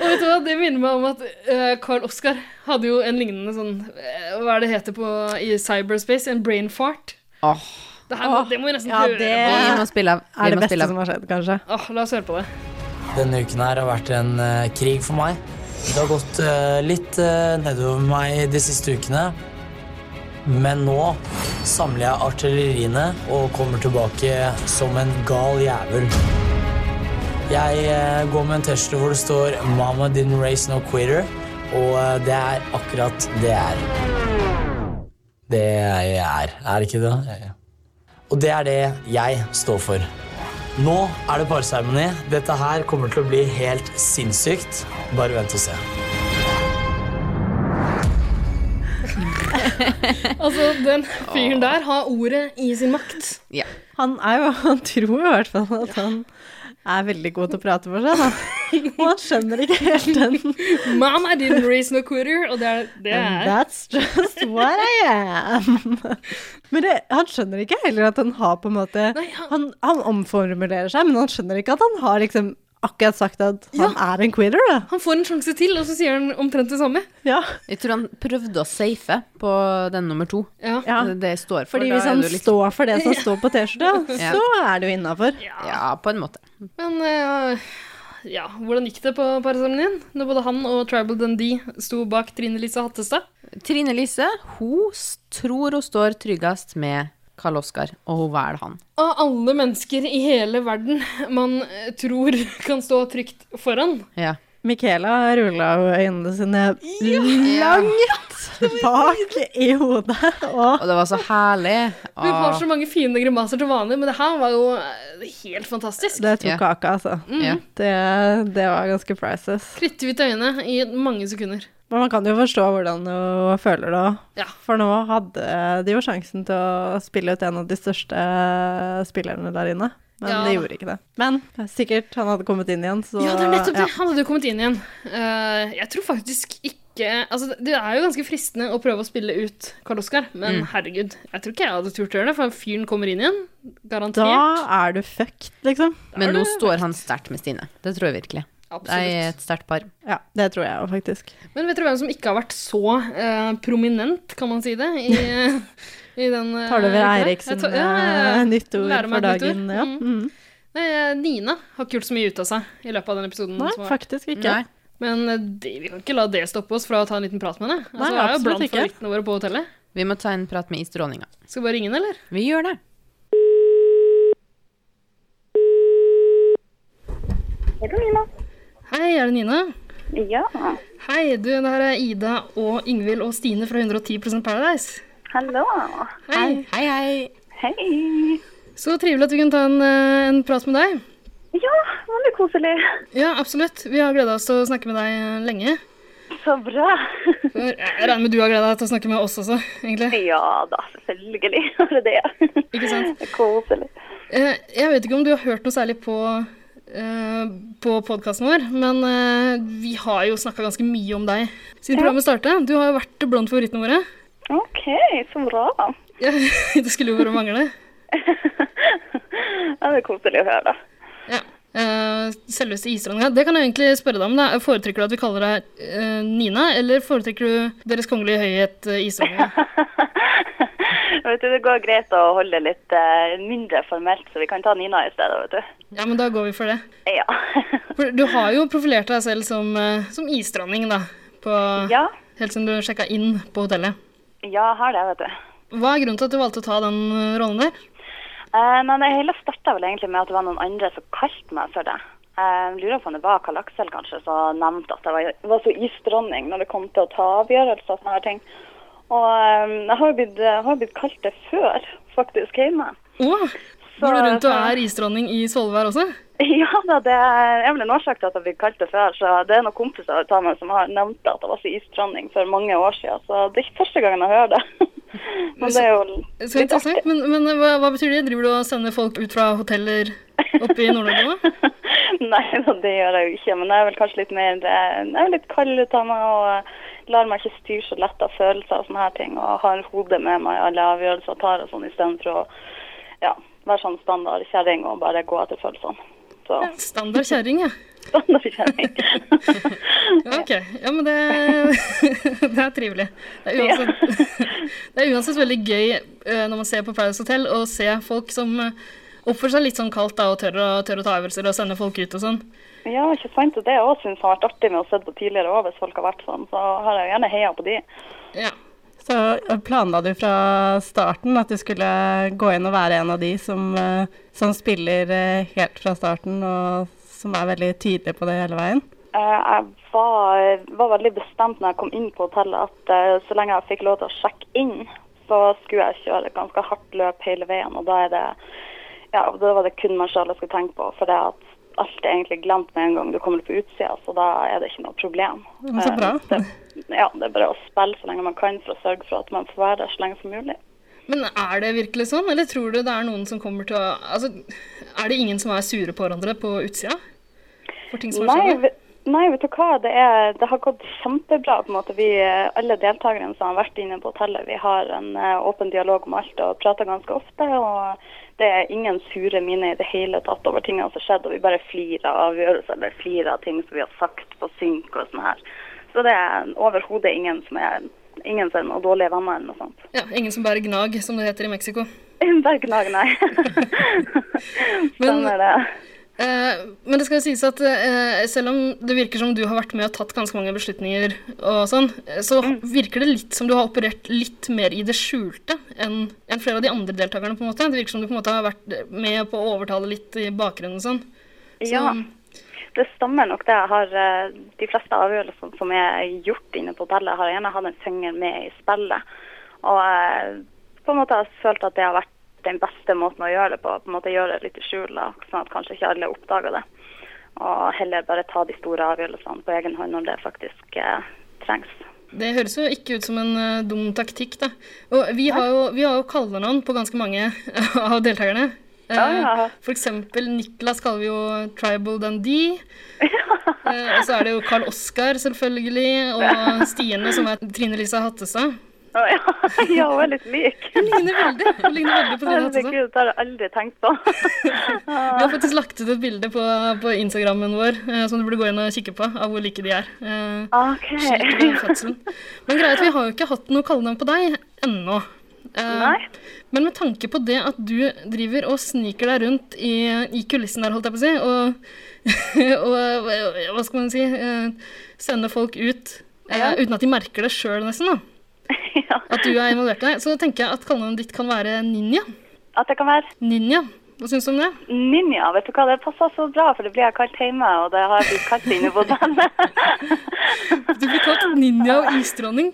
Og vet du hva, det minner meg om at eh, Karl Oskar hadde jo en lignende sånn eh, Hva er det heter på, i cyberspace? En brain fart. Åh, Det, her, må- det må vi nesten høre Vi på. må spille av. Eh, er det Vi må beste spille som av. har skjedd, kanskje. Åh, la oss høre på det. Denne uken her har vært en eh, krig for meg. Det har gått eh, litt eh, nedover meg de siste ukene. Men nå samler jeg artilleriene og kommer tilbake som en gal jævel. Jeg eh, går med en T-skjorte hvor det står 'Mama didn't raise no quitter', og eh, det er akkurat det jeg er. Det jeg er, er det ikke det? Og det er det jeg står for. Nå er det parseremoni. Dette her kommer til å bli helt sinnssykt. Bare vent og se. Altså, den fyren der har ordet i sin makt. Han, er jo, han tror jo i hvert fall at han er veldig god til å prate for seg, da. Og han skjønner ikke helt den. Mom, I didn't raise no quitter. Og det er det And er that's just what I am. Men det, han skjønner ikke heller at han har på en måte han, han omformulerer seg, men han skjønner ikke at han har liksom akkurat sagt at han er en quitter, da. Han får en sjanse til, og så sier han omtrent det samme. Ja. Jeg tror han prøvde å safe på den nummer to. Ja. Det det jeg står for. Fordi da hvis er han du liksom- står for det som står på T-skjorta, Ja. så er det jo innafor. Ja, på en måte. Men eh, ja, hvordan gikk det på paraseremonien? Når både han og Tribal Dundee sto bak Trine Lise Hattestad? Trine Lise, hun s- tror hun står tryggest med Karl Oskar, og hun velger han. Av alle mennesker i hele verden man eh, tror kan stå trygt foran. Ja. Michaela rulla jo øynene sine langt bak i hodet. Og Og det var så herlig. Hun Ah. har Åh. så mange fine grimaser til vanlig, men det her var jo eh, helt fantastisk. det tok Ja. kaka, altså. Mm. Ja. Det, det var ganske priceless. Kritthvitt øyne i mange sekunder. Men man kan jo forstå hvordan hun føler det òg. Ja. For nå hadde de jo sjansen til å spille ut en av de største spillerne der inne. Men Ja. de gjorde ikke det. Men sikkert han hadde kommet inn igjen, så Ja, det er nettopp det. ja. Han hadde jo kommet inn igjen. Eh, jeg tror faktisk ikke Altså, det er jo ganske fristende å prøve å spille ut Karl Oskar, men Mm. herregud. Jeg tror ikke jeg hadde turt å gjøre det, for fyren kommer inn igjen. Garantert. Da er du fucked, liksom. Men nå står han sterkt med Stine. Det tror jeg virkelig. De er et sterkt par. Ja, det tror jeg jo faktisk. Men vet dere hvem som ikke har vært så eh, prominent, kan man si det, i, i den eh, uh, Tar du over Eirik sin ja, ja, ja. eh, nytt ord Lærer meg for et nytt ord. dagen? Ja. Mm. Mm. Nei, Nina har ikke gjort så mye ut av seg i løpet av den episoden. Nei, som var. faktisk ikke. Nei. Men eh, det, vi kan ikke la det stoppe oss fra å ta en liten prat med henne. Altså, Nei, hun er jo absolutt blant ikke. favorittene våre på hotellet. Vi må ta en prat med isdronninga. Skal vi bare ringe henne, eller? Vi gjør det. Hei, er det Nina? Ja. Hei, du, det her er Ida og Ingvild og Stine fra 110 Paradise. Hallo. Hei. Hei, hei. Hei. Så trivelig at vi kunne ta en, eh, en prat med deg. Ja, veldig koselig. Ja, absolutt. Vi har gleda oss til å snakke med deg eh, lenge. Så bra. Jeg regner med du har gleda deg til å snakke med oss også, egentlig. Ja da, selvfølgelig har det det. Ikke sant? Koselig. Eh, Jeg vet ikke om du har hørt noe særlig på, eh, på podkasten vår, men eh, vi har jo snakka ganske mye om deg siden Ja. programmet starta. Du har jo vært blant favorittene våre. OK, så bra. Ja, det skulle jo bare mangle. Ja, det er koselig å høre. Eh, Selveste isdronninga. Det kan jeg egentlig spørre deg om. da. Foretrekker du at vi kaller deg eh, Nina, eller foretrekker du Deres Kongelige Høyhet eh, isdronninga? Vet du, Det går greit å holde det litt eh, mindre formelt, så vi kan ta Nina i stedet. vet du. Ja, men da går vi for det. Ja. For du har jo profilert deg selv som, eh, som isdronning, da. På, Ja. Helt siden du sjekka inn på hotellet. Ja, jeg har det, vet du. Hva er grunnen til at du valgte å ta den eh, rollen der? Eh, nei, det hele starta vel egentlig med at det var noen andre som kalte meg for det. Eh, lurer på om det var Karl Aksel kanskje som nevnte at jeg var, var så isdronning når det kom til å ta avgjørelser og sånne her ting. Og eh, jeg har jo blitt, jeg har jo blitt kalt det før, faktisk, hjemme. Å, går du Så- rundt og så- er isdronning i Svolvær også? Ja da, det er vel en årsak til at jeg har blitt kalt det før. Så det er noen kompiser av meg som har nevnt at jeg var så isdronning for mange år siden. Så det er ikke første gangen jeg hører det. Men det er jo Så interessant, men, men hva, hva betyr det? Driver du og sender folk ut fra hoteller oppe i Nord-Norge nå? Nei da, det gjør jeg jo ikke. Men jeg er vel kanskje litt mer eh, Jeg er litt kald ut av meg og eh, lar meg ikke styre så lett av følelser og sånne her ting. Og har hodet med meg i alle avgjørelser jeg tar og sånn, istedenfor å ja, være sånn standard kjerring og bare gå etter følelsene. Så Standard kjerring, ja. standard kjerring. Ja, Ok, ja, men det, det er trivelig. Det er, uansett, det er uansett veldig gøy eh, når man ser på Paradise Hotel, å se folk som eh, oppfører seg litt sånn kaldt da, og tør å, tør å ta øvelser og sende folk ut og sånn. Ja, ikke sant. Og det òg syns jeg har vært artig med å se på tidligere òg, hvis folk har vært sånn. Så har jeg jo gjerne heia på de. Så eh, planla du fra starten at du skulle gå inn og være en av de som, eh, som spiller eh, helt fra starten, og som er veldig tydelig på det hele veien? Eh, Jeg var, var veldig bestemt når jeg kom inn på hotellet at eh, så lenge jeg fikk lov til å sjekke inn, så skulle jeg kjøre et ganske hardt løp hele veien. Og da, er det, ja, og da var det kun meg sjøl jeg skulle tenke på. For det at alt er egentlig glemt med en gang du kommer på utsida, så da er det ikke noe problem. Men så bra. Eh, Det, ja, det er bare å spille så lenge man kan for å sørge for at man får være der så lenge som mulig. Men er det virkelig sånn, eller tror du det er noen som kommer til å Altså, er det ingen som er sure på hverandre på utsida? For ting som har Nei, skjedd? ve- nei, vet du hva. Det, er, det har gått kjempebra. på en måte. Vi, eh, alle deltakerne som har vært inne på hotellet, vi har en eh, åpen dialog om alt og prater ganske ofte. og Det er ingen sure mine i det hele tatt over tingene som har skjedd. og Vi bare flirer av avgjørelser eller flirer av ting som vi har sagt på synk og sånn her. Så det er overhodet ingen som er ingen som er noen dårlige venner eller noe sånt. Ja, ingen som bærer gnag, som det heter i Mexico. Bare gnag, nei. Men, Stemmer det. eh, men det skal jo sies at eh, selv om det virker som du har vært med og tatt ganske mange beslutninger, og sånn, eh, så Mm. virker det litt som du har operert litt mer i det skjulte enn enn flere av de andre deltakerne. på en måte. Det virker som du på en måte har vært med på å overtale litt i bakgrunnen og sånn. Så- Ja, det stemmer nok det. Jeg har, eh, de fleste avgjørelsene som er gjort inne på hotellet, har jeg gjerne hatt en finger med i spillet. Og eh, på en måte har jeg følt at det har vært den beste måten å gjøre det på. på en måte Gjøre det litt i skjul, da, sånn at kanskje ikke alle oppdager det. Og heller bare ta de store avgjørelsene på egen hånd når det faktisk eh, trengs. Det høres jo ikke ut som en eh, dum taktikk, da. Og vi har jo, vi har jo kallenavn på ganske mange av deltakerne. Eh, Ja, Ah, ja. For eksempel Niklas kaller vi jo Tribal Dundee. Eh, og så er det jo Carl Oskar, selvfølgelig. Og Stiene, som er Trine Lisa Hattestad. ja, hun er litt lik. Hun ligner veldig, hun ligner veldig på Trine Hattestad. Herregud, det har jeg aldri tenkt på. Vi har faktisk lagt ut et bilde på, på Instagrammen vår eh, som du burde gå inn og kikke på, av hvor like de er. Eh, Ok. skilt ved fødselen. Men greit, vi har jo ikke hatt noe kallenavn på deg ennå. Eh, Men med tanke på det at du driver og sniker deg rundt i, i kulissen der, holdt jeg på å si, og, og eh, hva skal man si, eh, sender folk ut eh, Ja. uten at de merker det sjøl, nesten, da. At du er involvert i det. Så tenker jeg at kallenavnet ditt kan være Ninja. At det kan være? Ninja. Hva syns du om det? Ninja, vet du hva, det passer så bra, for det blir jeg kalt hjemme, og det har jeg blitt kalt inne på den. Du blir kalt ninja og isdronning.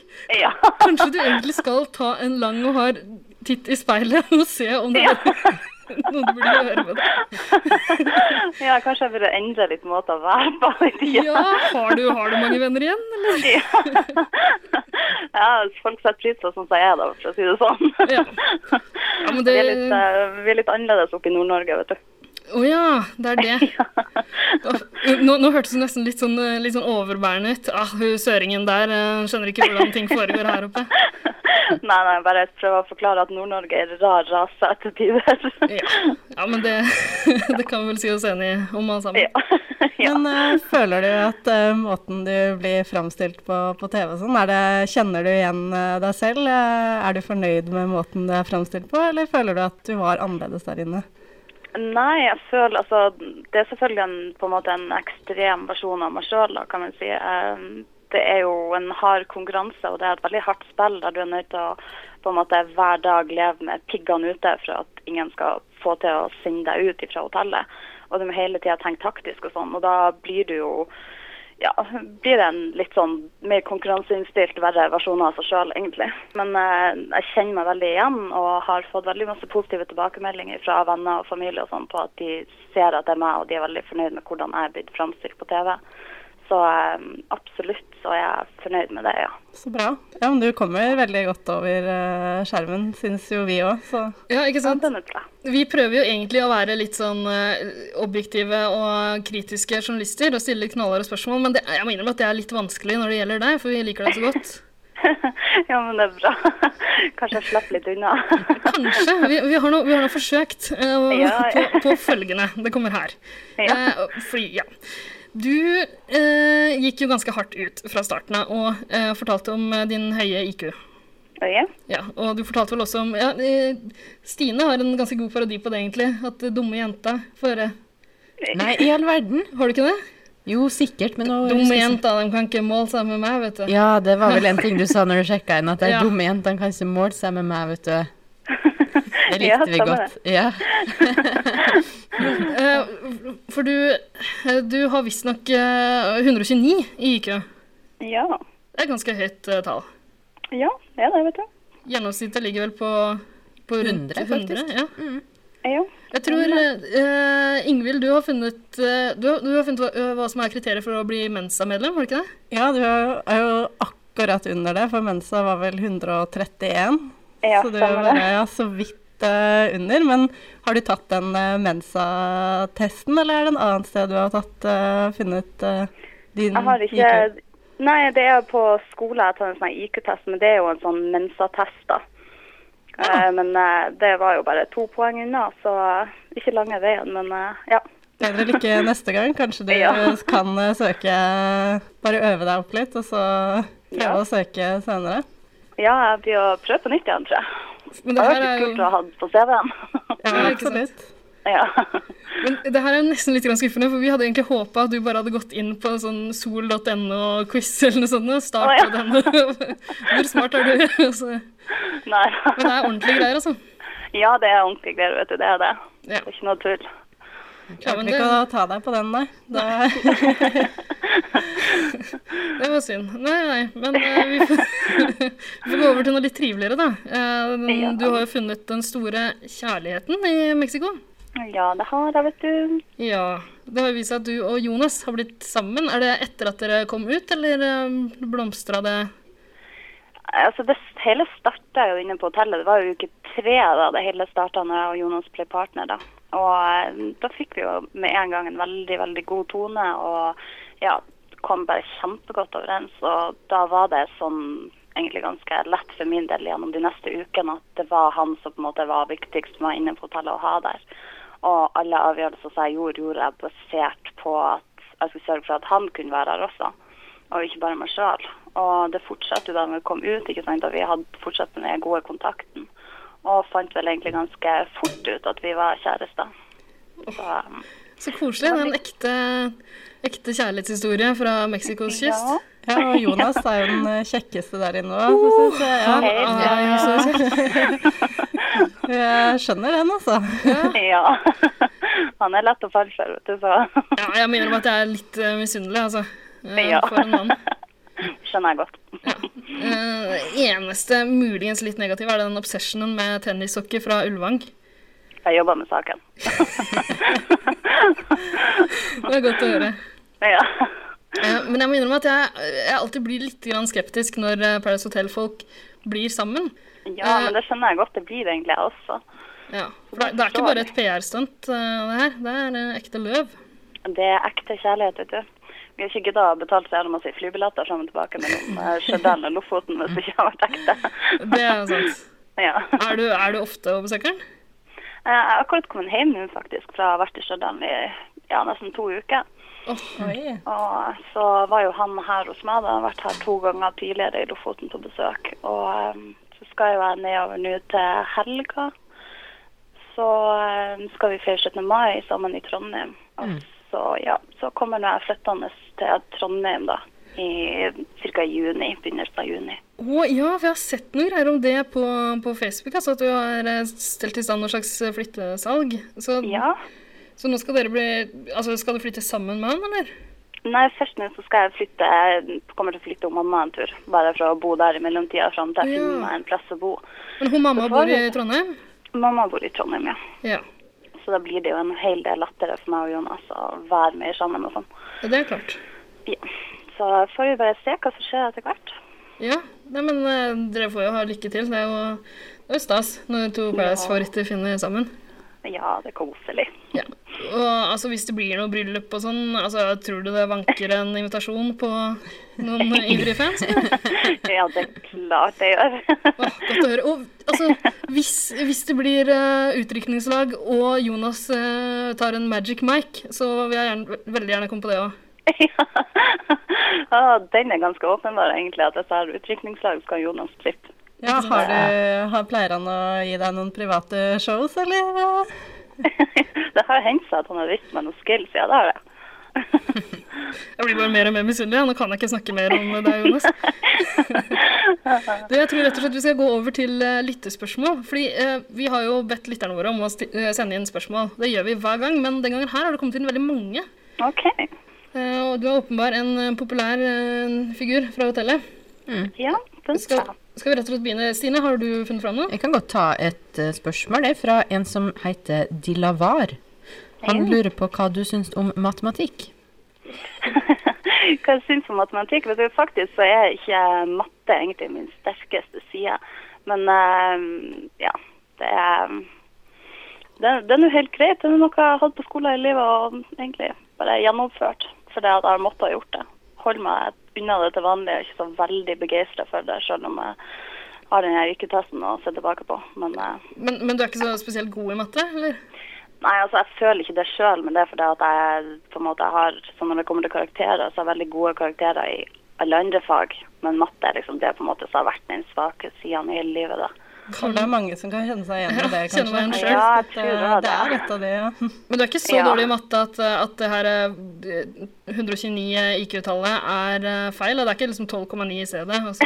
Kanskje du egentlig skal ta en lang og hard titt i speilet og se om det er noe du burde gjøre med det. Ja, kanskje jeg burde endre litt måte å være på. litt, Ja, har du, har du mange venner igjen, eller? Ja, folk setter pris på sånn som jeg er, da, for å si det sånn. Ja. men det- vi, er litt, eh, vi er litt annerledes oppe i Nord-Norge, vet du. Å ja, det er det. Åh, Nå, nå hørtes det nesten litt sånn, eh, litt sånn overbærende ut. Ah, hun søringen der eh, skjønner ikke hvordan ting foregår her oppe. Nei, nei, bare prøve å forklare at Nord-Norge er en rar rase etter tider. Ja, men det, det kan vi vel si oss enige om alle sammen. Men eh, føler du at eh, måten du blir framstilt på på TV og sånn, er det, kjenner du igjen eh, deg selv? Eh, er du fornøyd med måten du er framstilt på, eller føler du at du var annerledes der inne? Nei, jeg føler altså Det er selvfølgelig en, på en måte en ekstrem versjon av meg sjøl, kan man si. Ehm, Det er jo en hard konkurranse, og det er et veldig hardt spill der du er nødt til å på en måte hver dag leve med piggene ute for at ingen skal få til å sende deg ut fra hotellet. Og du må hele tida tenke taktisk og sånn, og da blir du jo ja, blir det en litt sånn mer konkurranseinnstilt, verre versjon av seg sjøl, egentlig. Men eh, jeg kjenner meg veldig igjen, og har fått veldig masse positive tilbakemeldinger fra venner og familie og sånn på at de ser at det er meg, og de er veldig fornøyd med hvordan jeg er blitt framstilt på TV. Så eh, absolutt så er jeg fornøyd med det, ja. Så bra. Ja, men du kommer veldig godt over eh, skjermen, syns jo vi òg, så Ja, ikke sant? Vi prøver jo egentlig å være litt sånn eh, objektive og kritiske journalister og stille knallharde spørsmål, men det, jeg må innrømme at det er litt vanskelig når det gjelder deg, for vi liker deg så godt. Ja, men det er bra. Kanskje jeg slipper litt unna. Kanskje. Vi, vi har nå vi har nå forsøkt eh, Ja, ja. På, på følgende. Det kommer her. Ja. Eh, fordi, ja. Du eh, gikk jo ganske hardt ut fra starten av og eh, fortalte om eh, din høye IQ. Ja. Ja, og du fortalte vel også om ja, eh, Stine har en ganske god parodi på det, egentlig. At eh, dumme jenta får høre Nei, i all verden. Har du ikke det? Jo, sikkert, men nå Dumme jenta, de kan ikke måle seg med meg, vet du. Ja, det var vel en ting du sa når du sjekka inn, at det er Ja. dumme jentene kan ikke måle seg med meg, vet du. Det Ja, likte vi stemmer godt. Ja. Eh, For du, eh, du har visstnok eh, 129 i IQ. Ja. Det er ganske høyt eh, tall. Ja, det er det, vet du. Gjennomsnittet ligger vel på, på rundt 100, 100, faktisk. Ja. Mm. Ja. Jeg tror eh, Ingvild, du har funnet, eh, du har, du har funnet hva, ø, hva som er kriteriet for å bli Mensa-medlem, har du ikke det? Ja, du er jo- er jo akkurat under det, for Mensa var vel 131. Ja, så du stemmer er bare, det. ja, så vidt eh, under. Men har du tatt den eh, Mensa-testen, eller er det en annen sted du har tatt, eh, funnet eh, din Jeg har ikke IQ? Nei, det er på skole jeg tar en sånn IQ-test, men det er jo en sånn Mensa-test, da. Ah. Eh, Men eh, det var jo bare to poeng unna, så eh, ikke lange veien, men eh, ja. Bedre lykke neste gang. Kanskje du Ja. kan eh, søke Bare øve deg opp litt, og så prøve Ja. å søke senere. Ja, jeg blir å prøve på nytt igjen, tror jeg. Men Det det hadde her vært er litt jo- kult å ha hatt på CV-en. Ja, ikke sant? Ja. Men det her er jo nesten litt grann skuffende, for vi hadde egentlig håpa at du bare hadde gått inn på sånn sol.no-quiz eller noe sånt, og starta den. Hvor smart er du? Og så- Nei. Men det er ordentlige greier, altså. Ja, det er ordentlige greier, vet du. Det er det. Det er ikke noe tull. Klarte men vi ikke å det- ta deg på den, nei. Da, Det var synd. Nei, nei, men eh, vi, får, vi får gå over til noe litt triveligere, da. Eh, den- Ja. Du har jo funnet den store kjærligheten i Mexico. Ja, det har jeg, vet du. Ja. Det har jo vist seg at du og Jonas har blitt sammen. Er det etter at dere kom ut, eller blomstra det Altså, det hele starta jo inne på hotellet. Det var jo uke tre da det hele starta når jeg og Jonas ble partner, da. Og eh, da fikk vi jo med en gang en veldig, veldig god tone, og ja, kom bare kjempegodt overens. Og da var det sånn egentlig ganske lett for min del gjennom de neste ukene at det var han som på en måte var viktigst for meg inne på hotellet å ha der. Og alle avgjørelser som jeg gjorde, gjorde jeg basert på at jeg skulle sørge for at han kunne være her også og ikke bare meg sjøl. Og det fortsatte jo da vi kom ut, ikke sant? og vi hadde fortsatt den gode kontakten. og fant vel egentlig ganske fort ut at vi var kjærester. Så, Ah. um, Så koselig. Det er en ekte, ekte kjærlighetshistorie fra Mexicos kyst. Ja. Ja, og Jonas er jo den eh, kjekkeste der inne òg. sånn. Ja, Hei, han er jo så kjekk. Jeg skjønner den, altså. ja. Han er lett å falle for, vet du, så Ja, jeg må innrømme at jeg er litt eh, misunnelig, altså. eh, Ja. For en mann. skjønner jeg godt. Eh, eneste muligens litt negative er den obsessionen med tennissokker fra Ulvang. Jeg jobber med saken. Det er godt å høre. Ja. Eh, Men jeg må innrømme at jeg, jeg alltid blir litt grann skeptisk når eh, Paradise Hotel-folk blir sammen. Ja, Eh, men det skjønner jeg godt. Det blir egentlig jeg også. ja. For det, det er ikke bare et PR-stunt, eh, det her. Det er eh, ekte løv. Det er ekte kjærlighet, vet du. Vi har ikke gidda å betale så jævla masse i flybilletter fram og tilbake mellom eh, Stjørdal og Lofoten hvis det ikke har vært ekte. Det er sant. Ja. Er du, er du ofte og besøker den? Eh, Jeg har akkurat kommet hjem nå, faktisk, fra å ha vært i Stjørdal i ja, nesten to uker. Og så var jo han her hos meg. da. Han har vært her to ganger tidligere i Lofoten på besøk. Og eh, så skal jo jeg nedover nå til helga. Så eh, skal vi feire 17. mai sammen i Trondheim. Så ja, så kommer nå jeg flyttende til Trondheim da, i ca. juni, begynnelsen av juni. Å ja, for jeg har sett noen greier om det på, på Facebook. Altså at du har eh, stelt i stand noe slags eh, flyttesalg. Så, Ja. så nå skal dere bli Altså, skal du flytte sammen med han, eller? Nei, først nå så skal jeg flytte, jeg kommer til å flytte om mamma en tur, bare for å bo der i mellomtida fram til jeg Ja. finner meg en plass å bo. Men hun mamma Så får bor i vi- Trondheim? Mamma bor i Trondheim, ja. Ja. Så da blir det jo en hel del lettere for meg og Jonas å være mer sammen og sånn. Ja, Det er klart. Så får vi bare se hva som skjer etter hvert. Ja, nei, men eh, dere får jo ha lykke til. Det er jo, det er jo stas når to Paradise-favoritter finner sammen. Ja, det er koselig. Og altså, hvis det blir noe bryllup og sånn, altså, tror du det vanker en invitasjon på noen ivrige fans? ja, det er klart det gjør. Godt å høre. Og altså, hvis, hvis det blir eh, utrykningslag og Jonas eh, tar en magic mic, så vil jeg gjerne, veldig gjerne komme på det òg. Ja, den er ganske åpenbar egentlig, at disse her utrykningslag skal Jonas slippe. Ja, har du, har, pleier han å gi deg noen private shows, eller? Det har jo hendt seg at han har vist meg noen skills, ja det har det. Jeg blir bare mer og mer misunnelig. ja. Nå kan jeg ikke snakke mer om deg, Jonas. Du, jeg tror rett og slett vi skal gå over til eh, lyttespørsmål. Fordi eh, vi har jo bedt lytterne våre om å sti eh, sende inn spørsmål. Det gjør vi hver gang, men den gangen her har det kommet inn veldig mange. Ok. Eh, og du er åpenbar en eh, populær eh, figur fra hotellet. Ja, skal, skal vi rett og slett begynne? Stine, har du funnet fram noe? Jeg kan godt ta et eh, spørsmål det er fra en som heter Dilavar. Han Hei. lurer på hva du syns om matematikk. Hva jeg syns om matematikk? Vet du, faktisk så er ikke matte egentlig min sterkeste side. Men eh, ja, det er det, det er nå helt greit. Det er noe jeg har hatt på skolen i livet og egentlig bare gjennomført. Fordi at jeg har måttet ha gjort det. Holder meg unna det til vanlig. Jeg er ikke så veldig begeistra for det, selv om jeg har den her IQ-testen å se tilbake på. Men eh, Men, men du er ikke så spesielt god i matte, eller? Nei, altså jeg føler ikke det sjøl, men det er fordi at jeg på en måte har så Når det kommer til karakterer, så har jeg veldig gode karakterer i alle andre fag. Men matte er liksom det på en måte som har vært min svake side i hele livet, da. Jeg tror det er mange som kan kjenne seg igjen i det, Ja, kanskje. kjenner meg igjen selv. Ja, Ja, jeg tror jeg det er et av det, ja. Men du er ikke så Ja. dårlig i matte at, eh, at det her eh, 129 IQ-tallet er eh, feil? Og det er ikke liksom 12,9 i altså. stedet? og så-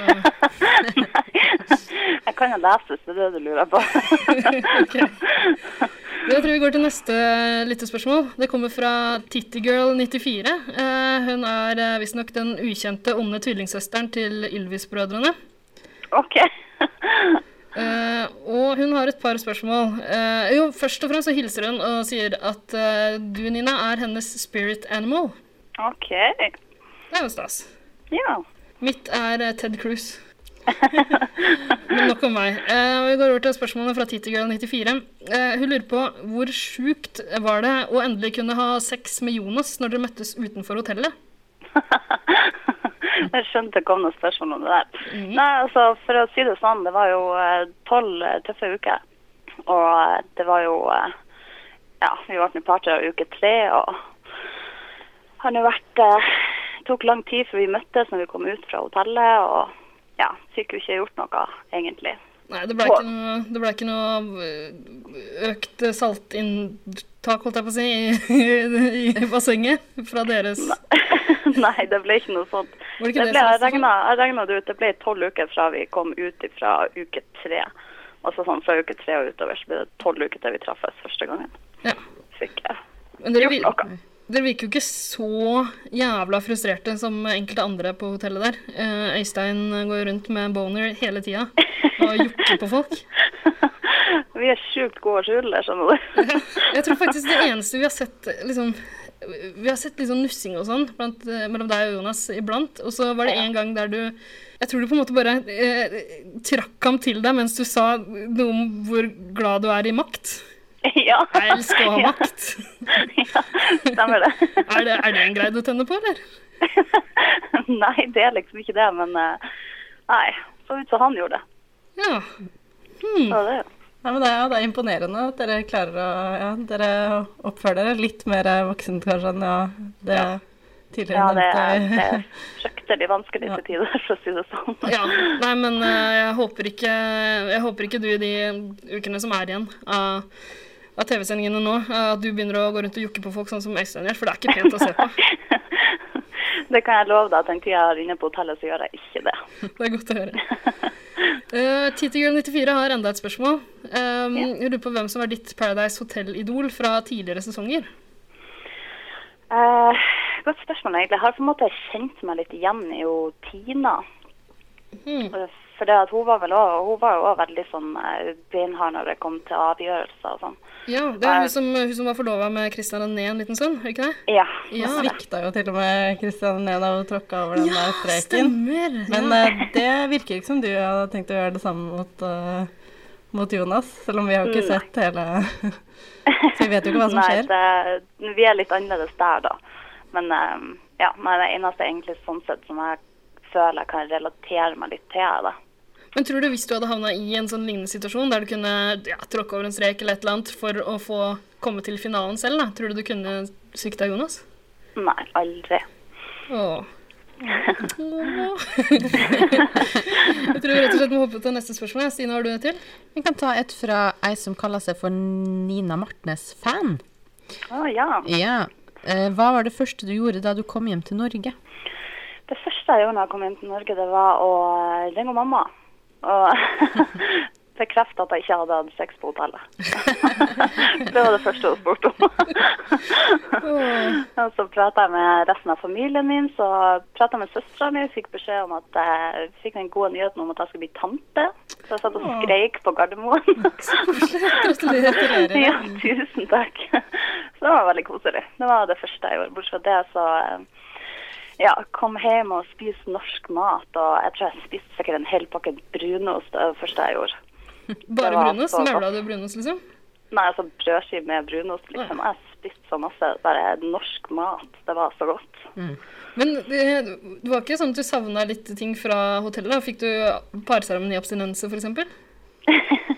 Jeg kan jo lese, så det er det du lurer på. Du, Jeg tror vi går til neste lyttespørsmål. Det kommer fra Tittygirl94. Eh, Hun er eh, visstnok den ukjente onde tvillingsøsteren til Ylvis-brødrene. Eh, Ok. og hun har et par spørsmål. Eh, jo, først og fremst så hilser hun og sier at eh, du, Nina, er hennes spirit animal. OK. Det er jo stas. Ja. Mitt er eh, Ted Cruz. Men nok om meg. Eh, vi går over til spørsmålet fra Tittygirl94. Eh, hun lurer på hvor sjukt var det å endelig kunne ha sex med Jonas når dere møttes utenfor hotellet? Jeg skjønte det kom noen spørsmål om det der. Nei, altså for å si det sånn, det var jo tolv eh, tøffe uker. Og eh, det var jo eh, Ja, vi ble nå parter av uke tre, og har nå vært eh, Tok lang tid før vi møttes når vi kom ut fra hotellet, og ja, fikk jo ikke gjort noe, egentlig. Nei, det ble ikke noe, det ble ikke noe ø- økt saltinntak, holdt jeg på å si, i, i, i bassenget fra deres Nei, det ble ikke noe sånt. Var det Det ikke det, ble, jeg som- regnet- jeg regna det ut. Det ble tolv uker fra vi kom ut fra uke tre. Altså sånn fra uke tre og utover så ble det tolv uker til vi traffes første gangen. Men dere, vir- dere virker jo ikke så jævla frustrerte som enkelte andre på hotellet der. Eh, Øystein går rundt med boner hele tida og jokker på folk. Vi er sjukt gode skjuler, skjønner du. Jeg tror faktisk det eneste vi har sett liksom, Vi har sett litt sånn nussing og sånn blant, eh, mellom deg og Jonas iblant. Og så var det en gang der du Jeg tror du på en måte bare eh, trakk ham til deg mens du sa noe om hvor glad du er i makt. Ja. Jeg elsker å ha Ja. makt. Stemmer det. Er det, er det en greie du tenner på, eller? Nei, det er liksom ikke det, men eh, nei. Så ut som han gjorde det. Ja. Mm. Så det. Nei, men det, er, det er imponerende at dere klarer å ja, Dere oppfører dere litt mer voksent kanskje enn ja, det tidligere Ja, det er, det nevnte. er fryktelig vanskelig til tider, for å si det sånn. Ja, nei, men eh, jeg, håper ikke, jeg håper ikke du i de ukene som er igjen av, av TV-sendingene nå, eh, at du begynner å gå rundt og jokke på folk sånn som Øystein gjør, for det er ikke pent å se på. Det kan jeg love deg. at Den tida jeg er inne på hotellet, så gjør jeg ikke det. Det er godt å høre. Uh, 94 har enda et spørsmål. Um, Jeg lurer på hvem som er ditt Paradise Hotel-idol fra tidligere sesonger. Eh, godt spørsmål, egentlig. Jeg har på en måte kjent meg litt igjen i jo Tina. Mhm. Eh, For det at hun var vel også, hun var jo også veldig sånn eh, beinhard når det kom til avgjørelser og sånn. Ja, det er hun som, hun som var forlova med Christian René en liten stund, er det ikke det? Ja. Nå svikta jo til og med Kristian Neda og tråkka over den der streken. stemmer. Men Ja. eh, det virker ikke som du hadde tenkt å gjøre det samme mot, eh, mot Jonas, selv om vi har jo ikke Nei. sett hele Så vi vet jo ikke hva som Nei, skjer. Det, vi er litt annerledes der, da. Men eh, ja, nei, det eneste egentlig sånn sett som jeg føler jeg kan relatere meg litt til, er det. Men tror du hvis du hadde havna i en sånn lignende situasjon, der du kunne ja, tråkke over en strek eller et eller annet for å få komme til finalen selv, da, tror du du kunne svikta Jonas? Nei, aldri. Åh. Jeg tror vi rett og slett må hoppe til neste spørsmål. ja. Stine, har du et til? Vi kan ta et fra ei som kaller seg for Nina Martnes-fan. Å ja. Ja. Eh, Hva var det første du gjorde da du kom hjem til Norge? Det første jeg gjorde da jeg kom hjem til Norge, det var å eh, ringe mamma. Og bekrefte at jeg ikke hadde hatt sex på hotellet. det var det første hun spurte om. og så prata jeg med resten av familien min, så prata jeg med søstera mi, fikk beskjed om at jeg fikk den gode nyheten om at jeg skulle bli tante. Så jeg satt og Åh. skreik på Gardermoen. Gratulerer. ja, tusen takk. Så det var veldig koselig. Det var det første jeg gjorde. Bortsett fra det, så eh, ja, kom hjem og spiste norsk mat. Og jeg tror jeg spiste sikkert en hel pakke brunost det var det første jeg gjorde. Bare Det var brunost? så Møla du brunost, liksom? Nei, altså brødskive med brunost, liksom. Jeg spiste så masse. Bare norsk mat. Det var så godt. Men det, det var ikke sånn at du savna litt ting fra hotellet? da? Fikk du parseremoniabstinense, f.eks.?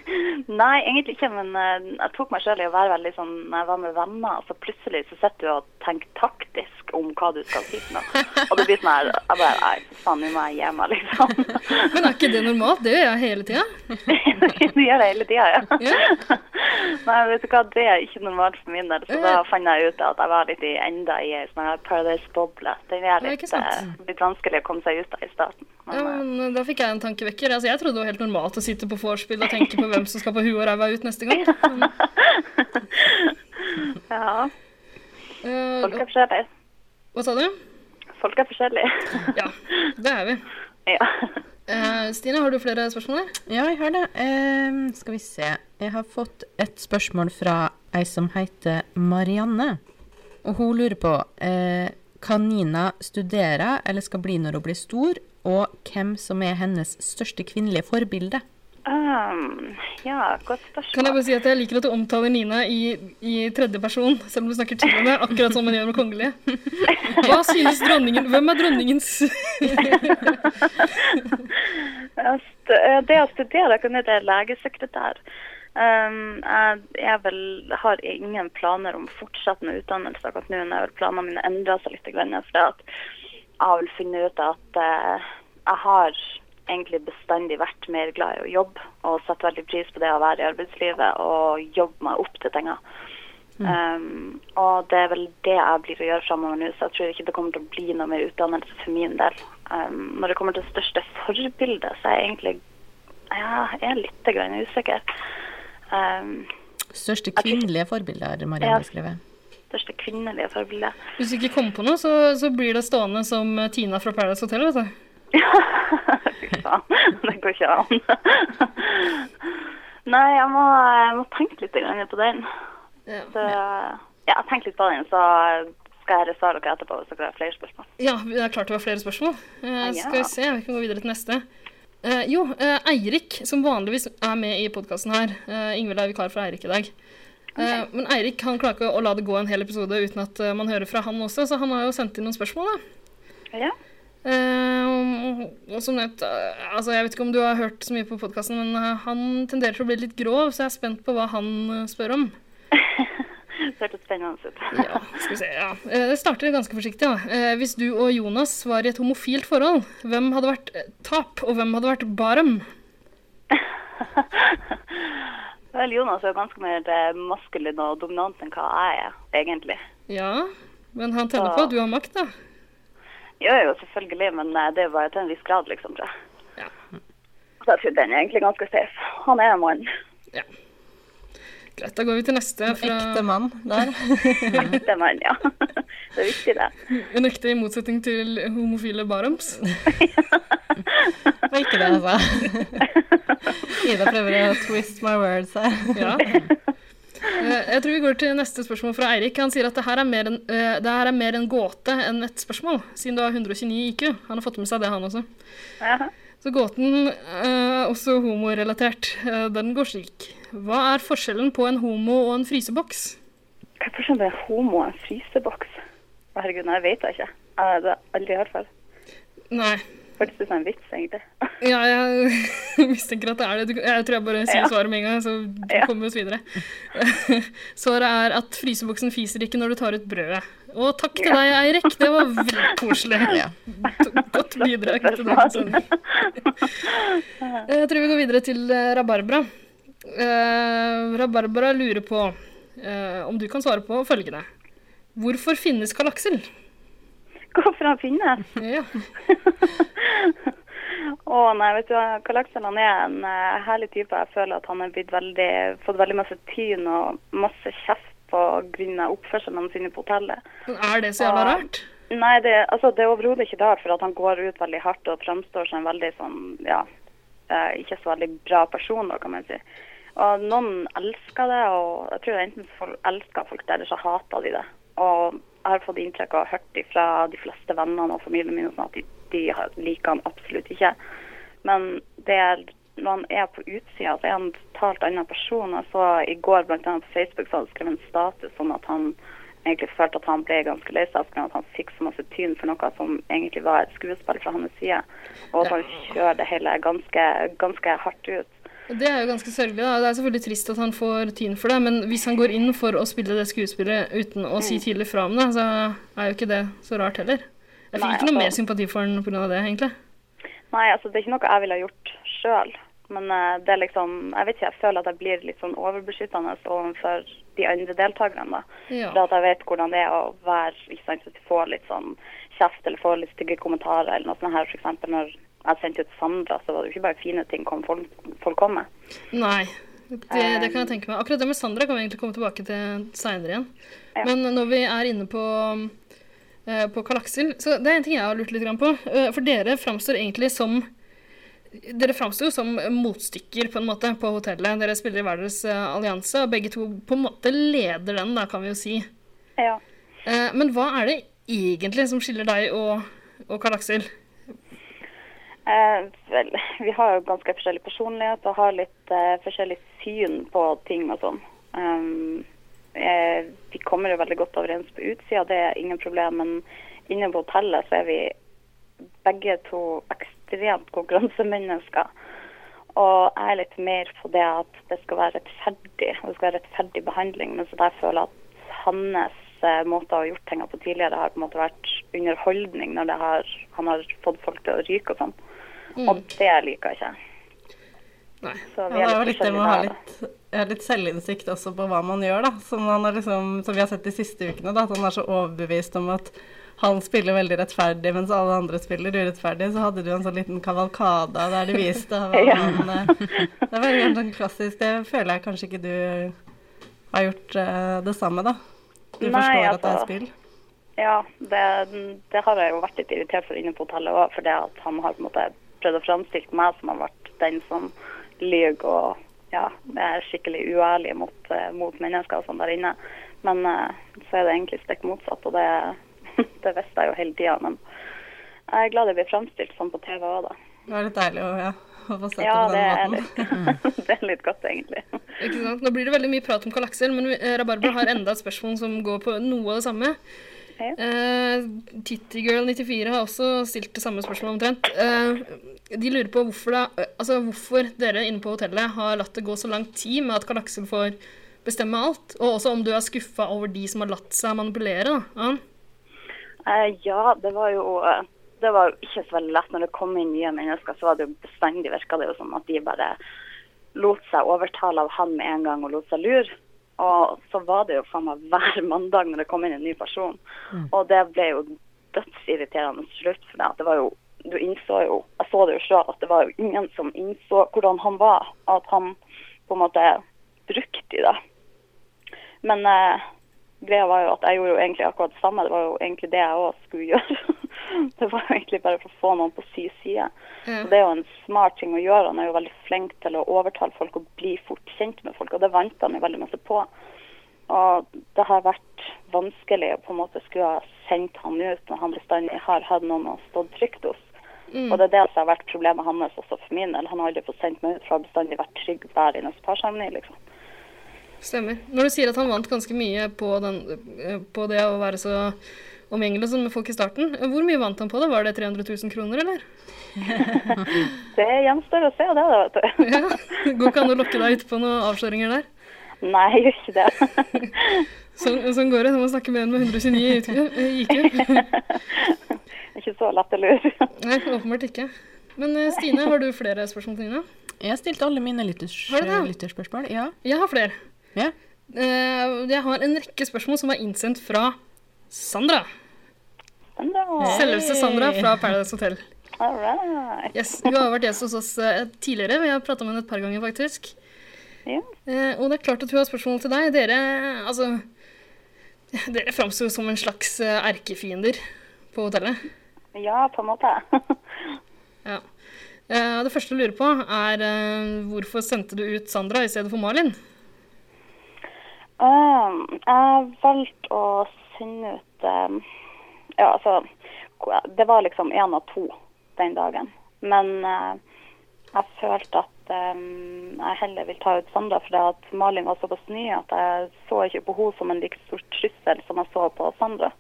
Nei, egentlig ikke, men eh, jeg tok meg sjøl i å være veldig sånn når jeg var med venner, så plutselig så sitter du og tenker taktisk om hva du skal si til noen. Og det blir sånn her Jeg bare Nei, faen, nå må jeg gi meg, liksom. Men er ikke det normalt? Det gjør jeg hele tida. Du gjør det hele tida, ja. Nei, vet du hva, det er ikke normalt for min del. Så da fant jeg ut at jeg var litt i enda i ei sånn her Paradise-boble. Den er Nei, litt, ikke sant. eh, litt vanskelig å komme seg ut av i starten. eh, Ja, men eh, da fikk jeg en tankevekker. Altså, jeg trodde det var helt normalt å sitte på vorspiel og tenke på hvem som skal på huet og ræva ut neste gang. Men, Ja. eh, Folk er forskjellige. hva sa du? Folk er forskjellige. Ja, det er vi. Eh, Stine, har du flere spørsmål der? Ja, jeg har det. Ehm, skal vi se. Jeg har fått et spørsmål fra ei som heter Marianne. Og hun lurer på eh, kan Nina studere eller skal bli når hun blir stor, og hvem som er hennes største kvinnelige forbilde? Um, ja, godt spørsmål. Kan jeg bare si at jeg liker at du omtaler Nina i, i tredje person, selv om du snakker til henne, akkurat som man gjør med kongelige. Hva synes dronningen? Hvem er dronningens Jeg st- eh, Det å studere jeg kunne det er legesekretær. Um, jeg jeg vel, har ingen planer om fortsettende utdannelse akkurat nå. men Jeg har vel planene mine endra seg litt. grann, For det at jeg har vel funnet ut at eh, jeg har egentlig bestandig vært mer glad i å jobbe, og setter veldig pris på det å være i arbeidslivet og jobbe meg opp til tinga. Um, og det er vel det jeg blir å gjøre framover nå, så jeg tror ikke det kommer til å bli noe mer utdannelse for min del. Um, når det kommer til det største forbildet, så er jeg egentlig ja, jeg er litt grann usikker. Um, Største kvinnelige forbilde har Marianne Ja. skrevet. største kvinnelige forbildet. Hvis du ikke kommer på noe, så, så blir det stående som Tina fra Paradise Hotel, vet du. Det går ikke an. Nei, jeg må, jeg må tenke litt grann på den. Så, ja, jeg tenker litt på den, så skal jeg svare dere etterpå hvis dere har flere spørsmål. Ja, det er klart vi har flere spørsmål. Eh, Ja. skal vi se, vi kan gå videre til neste. Eh, jo, eh, Eirik, som vanligvis er med i podkasten her. Eh, Ingvild er vikar for Eirik i dag. Eh, men Eirik han klarer ikke å la det gå en hel episode uten at eh, man hører fra han også, så han har jo sendt inn noen spørsmål, da. Ja. Eh, og som nevnt, eh, altså jeg vet ikke om du har hørt så mye på podkasten, men eh, han tenderer til å bli litt grov, så jeg er spent på hva han eh, spør om. Det hørtes spennende ut. Ja, skal vi se, ja. Eh, Det starter ganske forsiktig. da. Eh, Hvis du og Jonas var i et homofilt forhold, hvem hadde vært eh, top, og hvem hadde vært bottom? Vel, Jonas er jo ganske mer eh, maskulin og dominant enn hva jeg er, egentlig. Ja, men han tenner på at du har makt, da. Jo, jo, selvfølgelig, men eh, det er jo bare til en viss grad, liksom, tror jeg. Ja. Så jeg tror den er egentlig ganske safe. Han er en mann. Greit, da går vi til neste. Fra... ekte mann der. Ekte mann, ja. Det er viktig, det. En ekte i motsetning til homofile baroms. Det var ikke det jeg sa. Ida prøver å twist my words her. Ja. Eh, Jeg tror vi går til neste spørsmål fra Eirik. Han sier at det her er mer en, eh, det her er mer en gåte enn et spørsmål, siden du har 129 IQ. Han har fått med seg det, han også. Så gåten, eh, også homorelatert, eh, den går slik. Hva er forskjellen på en homo og en fryseboks? Hva er forskjellen på en homo og en fryseboks? Å, Herregud, nei, jeg vet det ikke. Jeg har det aldri hørt før. Nei. Hørtes ut som en vits, egentlig. Ja, jeg mistenker at det er det. Du- Jeg tror jeg bare sier Ja. svaret med en gang, så kommer vi oss videre. Svaret er at fryseboksen fiser ikke når du tar ut brødet. Og takk til deg, Eirik. Det var veldig koselig. To- Godt bidrag til denne episoden. Jeg tror vi går videre til eh, Rabarbra. Eh, Rabarbra lurer på eh, om du kan svare på følgende. Hvorfor finnes Galaksel? Hvorfor han finnes? Ja. Å nei, vet du hva, Kalaksen han er en eh, herlig type. Jeg føler at han har blitt veldig, fått veldig masse tyn og masse kjeft på grunn av oppførselen han finner på hotellet. Men er det så jævla Og- rart? Nei, det, altså, det er overhodet ikke rart, for at han går ut veldig hardt og framstår som en veldig sånn, ja, eh, ikke så veldig bra person, da, kan man si. Og noen elsker det, og jeg tror enten så folk elsker folk det, eller så hater de det. Og jeg har fått inntrykk av og hørt fra de fleste vennene og familien min og sånn at de, de har- liker han absolutt ikke. Men det er, når han er på utsida, så er han en totalt annen person. Jeg så i går blant annet på Facebook så hadde han skrevet en status om at han egentlig følte at han ble ganske lei seg pga. at han fikk så masse tyn for noe som egentlig var et skuespill fra hans side. Og at han kjører det hele ganske, ganske hardt ut. Det er jo ganske sørgelig. da. Det er selvfølgelig trist at han får tyn for det, men hvis han går inn for å spille det skuespillet uten å si Mm. tidlig fra om det, så er jo ikke det så rart heller. Jeg fikk Nei, ikke noe altså- mer sympati for han pga. det, egentlig. Nei, altså det er ikke noe jeg ville ha gjort sjøl. Men eh, det er liksom Jeg vet ikke, jeg føler at jeg blir litt sånn overbeskyttende overfor de andre deltakerne. da. Ja. For at jeg vet hvordan det er å være ikke sant, Hvis du får litt sånn kjeft eller får litt stygge kommentarer eller noe sånt her, f.eks. når jeg sendte ut Sandra, så var det jo ikke bare fine ting kom folk, folk kom med. Nei, det, det kan jeg tenke meg. Akkurat det med Sandra kan vi egentlig komme tilbake til seinere igjen. Men når vi er inne på eh, på Kalaksel, så det er en ting jeg har lurt litt grann på. Eh, For dere framstår egentlig som dere framstår jo som motstykker på en måte på hotellet. Dere spiller i hver deres eh, allianse, og begge to på en måte leder den, da, kan vi jo si. Ja. Eh, Men hva er det egentlig som skiller deg og, og Kalaksel? Eh, vel, vi har jo ganske forskjellig personlighet og har litt eh, forskjellig syn på ting og sånn. Um, eh, vi kommer jo veldig godt overens på utsida, det er ingen problem. Men inne på hotellet så er vi begge to ekstremt konkurransemennesker. Og jeg er litt mer på det at det skal være rettferdig, og det skal være rettferdig behandling. Men så der føler jeg at hans eh, måte å ha gjort tinga på tidligere har på en måte vært underholdning når det har, han har fått folk til å ryke og sånn. Mm. Og det liker ikke jeg. Så Ja, det vi er er jo litt litt det med å forskjellige ha der, da. litt, ja, litt selvinnsikt også på hva man gjør, da. Som, han har liksom, som vi har sett de siste ukene, da, at han er så overbevist om at han spiller veldig rettferdig, mens alle andre spiller urettferdig. Så hadde du en sånn liten kavalkade der de viste hva Ja. han eh, Det er veldig sånn klassisk. Det føler jeg kanskje ikke du har gjort eh, det samme, da. Du Nei, forstår at det altså, er spill. Ja, det, det har jeg jo vært litt irritert for inne på hotellet òg, fordi at han har på en måte prøvd å framstille meg som har vært den som lyver og ja, er skikkelig uærlig mot, eh, mot mennesker og sånn der inne. Men eh, så er det egentlig stikk motsatt, og det, det visste jeg jo hele tida. Men jeg er glad jeg blir framstilt sånn på TV òg, da. Det var litt deilig å, ja, å få sett Ja, det på det den er, måten. litt, det er litt godt, egentlig. Ikke sant? Nå blir det veldig mye prat om kalakser, men eh, Rabarbra har enda et spørsmål som går på noe av det samme. Eh, Tittygirl94 har også stilt det samme spørsmålet omtrent. Eh, de lurer på hvorfor, da, altså hvorfor dere inne på hotellet har latt det gå så lang tid med at Karl Aksel får bestemme alt, og også om du er skuffa over de som har latt seg manipulere. da, av han. Eh, ja, det var jo eh, det var jo ikke så veldig lett. Når det kom inn nye mennesker, så var det jo bestandig virka det jo som at de bare lot seg overtale av han med en gang og lot seg lure. Og så var det jo faen meg hver mandag når det kom inn en ny person. Og det ble jo dødsirriterende til slutt. For det at det var jo, du innså jo, jeg så det jo selv, at det var jo ingen som innså hvordan han var. At han på en måte brukte i det. Men eh, greia var jo at jeg gjorde jo egentlig akkurat det samme. Det var jo egentlig det jeg òg skulle gjøre. Det var jo egentlig bare for å få noen på si side. Ja. Så det er jo en smart ting å gjøre. Han er jo veldig flink til å overtale folk og bli fort kjent med folk, og det vant han jo veldig masse på. Og det har vært vanskelig å på en måte skulle ha sendt han ut når han bestandig har hatt noen å stå trygt hos. Mm. Og det er det som har vært problemet hans også for min del. Han har aldri fått sendt meg ut, for jeg har bestandig vært trygg hver eneste parseremoni, liksom. Stemmer. Når du sier at han vant ganske mye på, den, eh, på det å være så omgjengelig som med folk i starten, hvor mye vant han på det? Var det 300 000 kroner, eller? Det gjenstår å se, det, da, vet du. Ja, det Går ikke an å lokke deg ut på noen avsløringer der? Nei, jeg gjør ikke det. Sånn, sånn går det når man snakker med en med 129 i IQ. eh, IQ. ikke så lett å lure. Nei, åpenbart ikke. Men eh, Stine, har du flere spørsmål til Nina? Jeg stilte alle mine lytters, Har du det? lytterspørsmål. Ja. Jeg har flere. Ja. Eh, Jeg har en rekke spørsmål som er innsendt fra Sandra. Selveste Sandra fra Paradise Hotel. Yes, hun har vært gjest hos oss eh, tidligere. Vi har prata med henne et par ganger, faktisk. Eh, og det er klart at hun har spørsmål til deg. Dere, altså, dere framstår jo som en slags eh, erkefiender på hotellet. Ja, på en måte. Ja. Eh, det første jeg lurer på, er eh, hvorfor sendte du ut Sandra i stedet for Malin? Um, jeg valgte å sende ut um, Ja, altså Det var liksom én av to den dagen. Men eh, jeg følte at um, jeg heller vil ta ut Sandra, fordi at Malin var såpass ny at jeg så ikke på henne som en like stor trussel som jeg så på Sandra.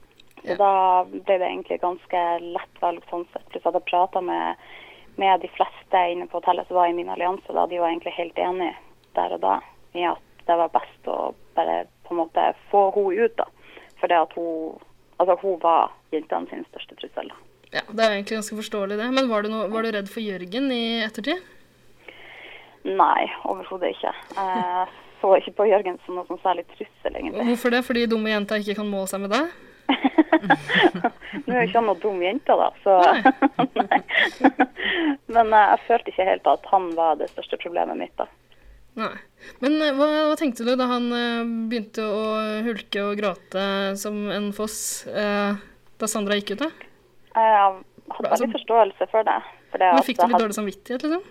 Så da ble det egentlig ganske lett valg sånn sett. Pluss at jeg prata med, med de fleste inne på hotellet som var i min allianse, da de var egentlig helt enige der og da i at det var best å bare på en måte få henne ut, da. For det at hun Altså, hun var jentene sin største trussel. da. Ja, Det er jo egentlig ganske forståelig, det. Men var du, noe, var du redd for Jørgen i ettertid? Nei, overhodet ikke. Jeg så ikke på Jørgen som noe sånn særlig trussel, egentlig. Hvorfor det? Fordi dumme jenta ikke kan måle seg med deg? Nå er jo ikke han noen dum jente, da, så Nei. Men eh, jeg følte ikke helt at han var det største problemet mitt, da. Nei. Men eh, hva, hva tenkte du da han eh, begynte å hulke og gråte som en foss eh, da Sandra gikk ut? da? Jeg hadde Altså- veldig forståelse for det. For det Men at fikk du jeg litt hadde- dårlig samvittighet, liksom?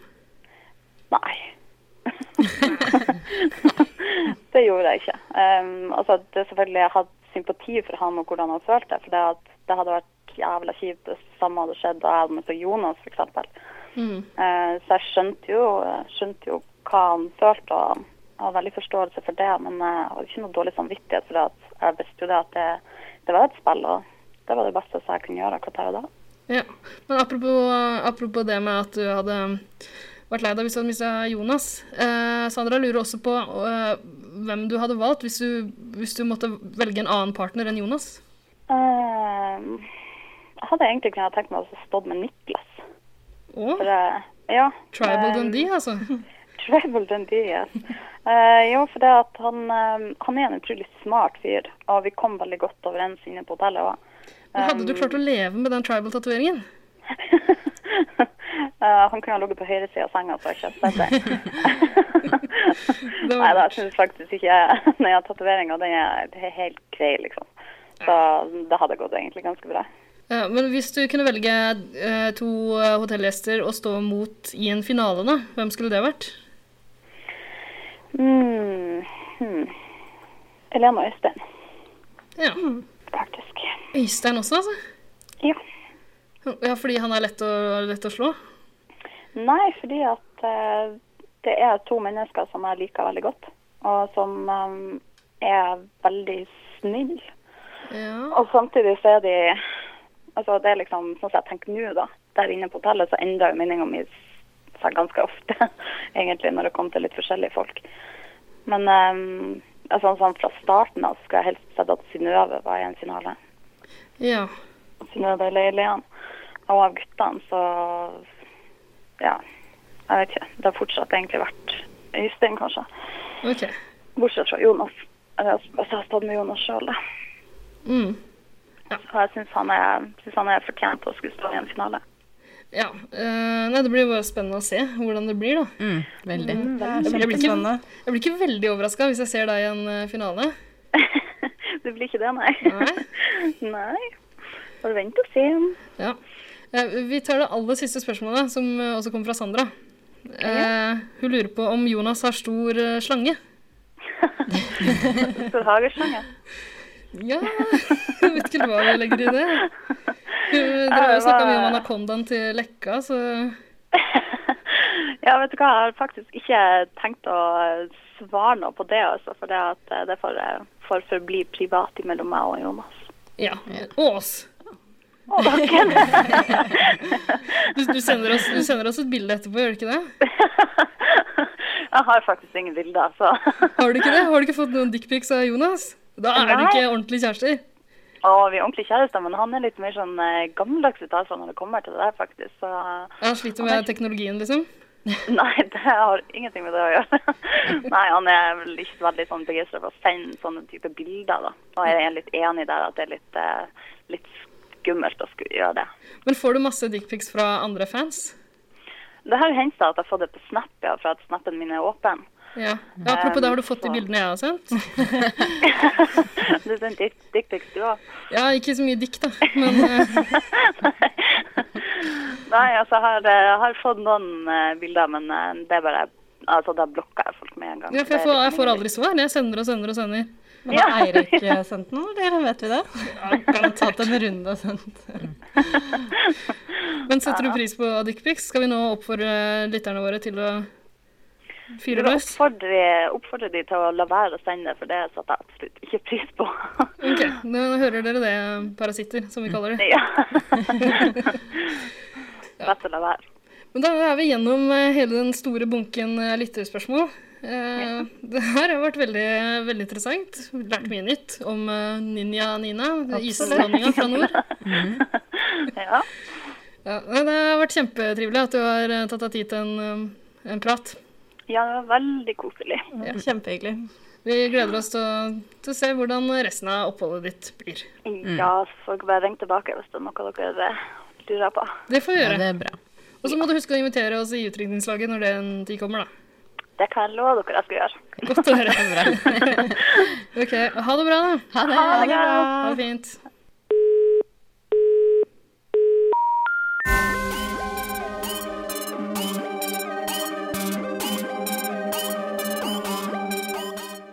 Det gjorde jeg ikke. Um, altså, det er selvfølgelig jeg hadde sympati for han og hvordan han følte det. For det, at det hadde vært jævla kjipt hvis det samme hadde skjedd da jeg hadde møtt Jonas, f.eks. Mm. Eh, så jeg skjønte jo, skjønte jo hva han følte, og jeg hadde veldig forståelse for det. Men eh, jeg hadde ikke noe dårlig samvittighet, for det at jeg visste jo det at det, det var et spill, og det var det beste jeg kunne gjøre akkurat der og da. Ja. Men apropos, apropos det med at du hadde vært lei deg hvis du hadde mista Jonas. Eh, Sandra lurer også på eh, hvem du hadde valgt hvis du, hvis du måtte velge en annen partner enn Jonas. Eh, jeg hadde egentlig kunnet tenkt meg å stå med Niklas. Åh. For, eh, ja. Tribal Eh, Dundee, altså. Tribal Dundee, yes. Eh, jo, for det at han, eh, han er en utrolig smart fyr, og vi kom veldig godt overens inne på hotellet også. Um, Men hadde du klart å leve med den tribal-tatoveringen? Eh, han kunne ha ligget på høyre side av senga, så jeg ikke har sett det. Nei, da synes jeg faktisk ikke jeg Nei, ja, tatoveringa, den er det er helt grei, liksom. Så det hadde gått egentlig ganske bra. Ja, Eh, men hvis du kunne velge eh, to eh, hotellgjester å stå mot i en finale, da, hvem skulle det vært? Mm. Hmm. Elena og Øystein. Ja. Faktisk. Øystein også, altså? Ja. Ja, fordi han er lett å, lett å slå? Nei, fordi at eh, det er to mennesker som jeg liker veldig godt, og som eh, er veldig snille. Og samtidig så er de Altså, det er liksom sånn som jeg tenker nå, da. Der inne på hotellet så endrer jo meninga mi seg ganske ofte, egentlig, når det kommer til litt forskjellige folk. Men eh, altså, sånn fra starten av skulle jeg helst sett at Synnøve var i en finale. Ja. Synnøve Leilian. Og av guttene, så Ja, jeg vet ikke. Det har fortsatt egentlig vært Øystein, kanskje. Ok. Bortsett fra Jonas. Eller, Altså, jeg har stått med Jonas sjøl, da. Mm. Så jeg syns han, er- synes han er fortjent å skulle stå i en finale. Ja. eh, nei, det blir jo bare spennende å se hvordan det blir, da. veldig. Mm, Det er jeg, blir ikke, kjempespennende. jeg blir ikke veldig overraska hvis jeg ser deg i en eh, finale. Du blir ikke det, nei. Nei. Bare vent og se. Ja. Eh, vi tar det aller siste spørsmålet, som eh, også kommer fra Sandra. Eh, hun lurer på om Jonas har stor eh, slange. Stor hageslange. Ja Jeg vet ikke hva vi legger i det. Hun dere har jo snakka mye om anakondaen til Lekka, så Ja, vet du hva, jeg har faktisk ikke tenkt å svare noe på det, altså. For det, at eh, det får, eh, får forbli privat mellom meg og Jonas. ja. Ås. Å, Du, du, sender oss, du sender oss et bilde etterpå, gjør du ikke det? Jeg har faktisk ingen bilder, altså. så Har du ikke det? Har du ikke fått noen dickpics av Jonas? Da er du Nei. ikke ordentlig kjærester. Og vi er ordentlige kjærester, men han er litt mer sånn eh, gammeldags ut altså, når det kommer til det der, faktisk. Så Han sliter med teknologien, liksom. Nei, det har ingenting med det å gjøre. Nei, han er vel ikke veldig sånn begeistra for å sende sånne type bilder, da. Og jeg er litt enig der at det er litt, eh, litt skummelt å skulle gjøre det. Men får du masse dickpics fra andre fans? Det har jo hendt seg at jeg har fått det på Snap, ja, for at snappen min er åpen. Ja. ja apropos det, har du fått de Så- bildene jeg har sendt? Du sendte dickpics, sånn du òg. Ja, ikke så mye dikt, da. Men eh, Nei, altså, jeg har, eh, jeg har fått noen eh, bilder, men eh, det er bare Altså, da blokker jeg folk med en gang. ja, for jeg, får, jeg får aldri svar. Jeg sender og sender og sender. Men har Ja. Eirik sendt den, eller vet vi det? Kan ta Tatt en runde og sendt. Men setter du pris på dickpics? Skal vi nå oppfordre lytterne våre til å fyre Jeg løs? oppfordre, oppfordre de til å la være å sende det, for det setter jeg absolutt ikke pris på. Ok, nå hører dere det, parasitter, som vi kaller det. Best å la være. Men da er vi gjennom eh, hele den store bunken eh, lytterspørsmål. Eh, Det her har vært veldig, veldig interessant. Lært mye nytt om eh, Ninja Nina, islandinga fra nord. ja. nei, Det har vært kjempetrivelig at du har eh, tatt deg tid til en, eh, en prat. Ja, det var veldig koselig. Kjempehyggelig. Vi gleder oss til å, til å se hvordan resten av oppholdet ditt blir. Ja, så får dere bare ringe tilbake hvis det er noe dere eh, lurer på. Det får vi gjøre. Ja, det er bra. Og så må du huske å invitere oss i utrykningslaget når den tid kommer, da. Det kan jeg love dere jeg skal gjøre. Godt å høre. ok, ha det bra, da. Ha det. Ha det bra. Ha det fint.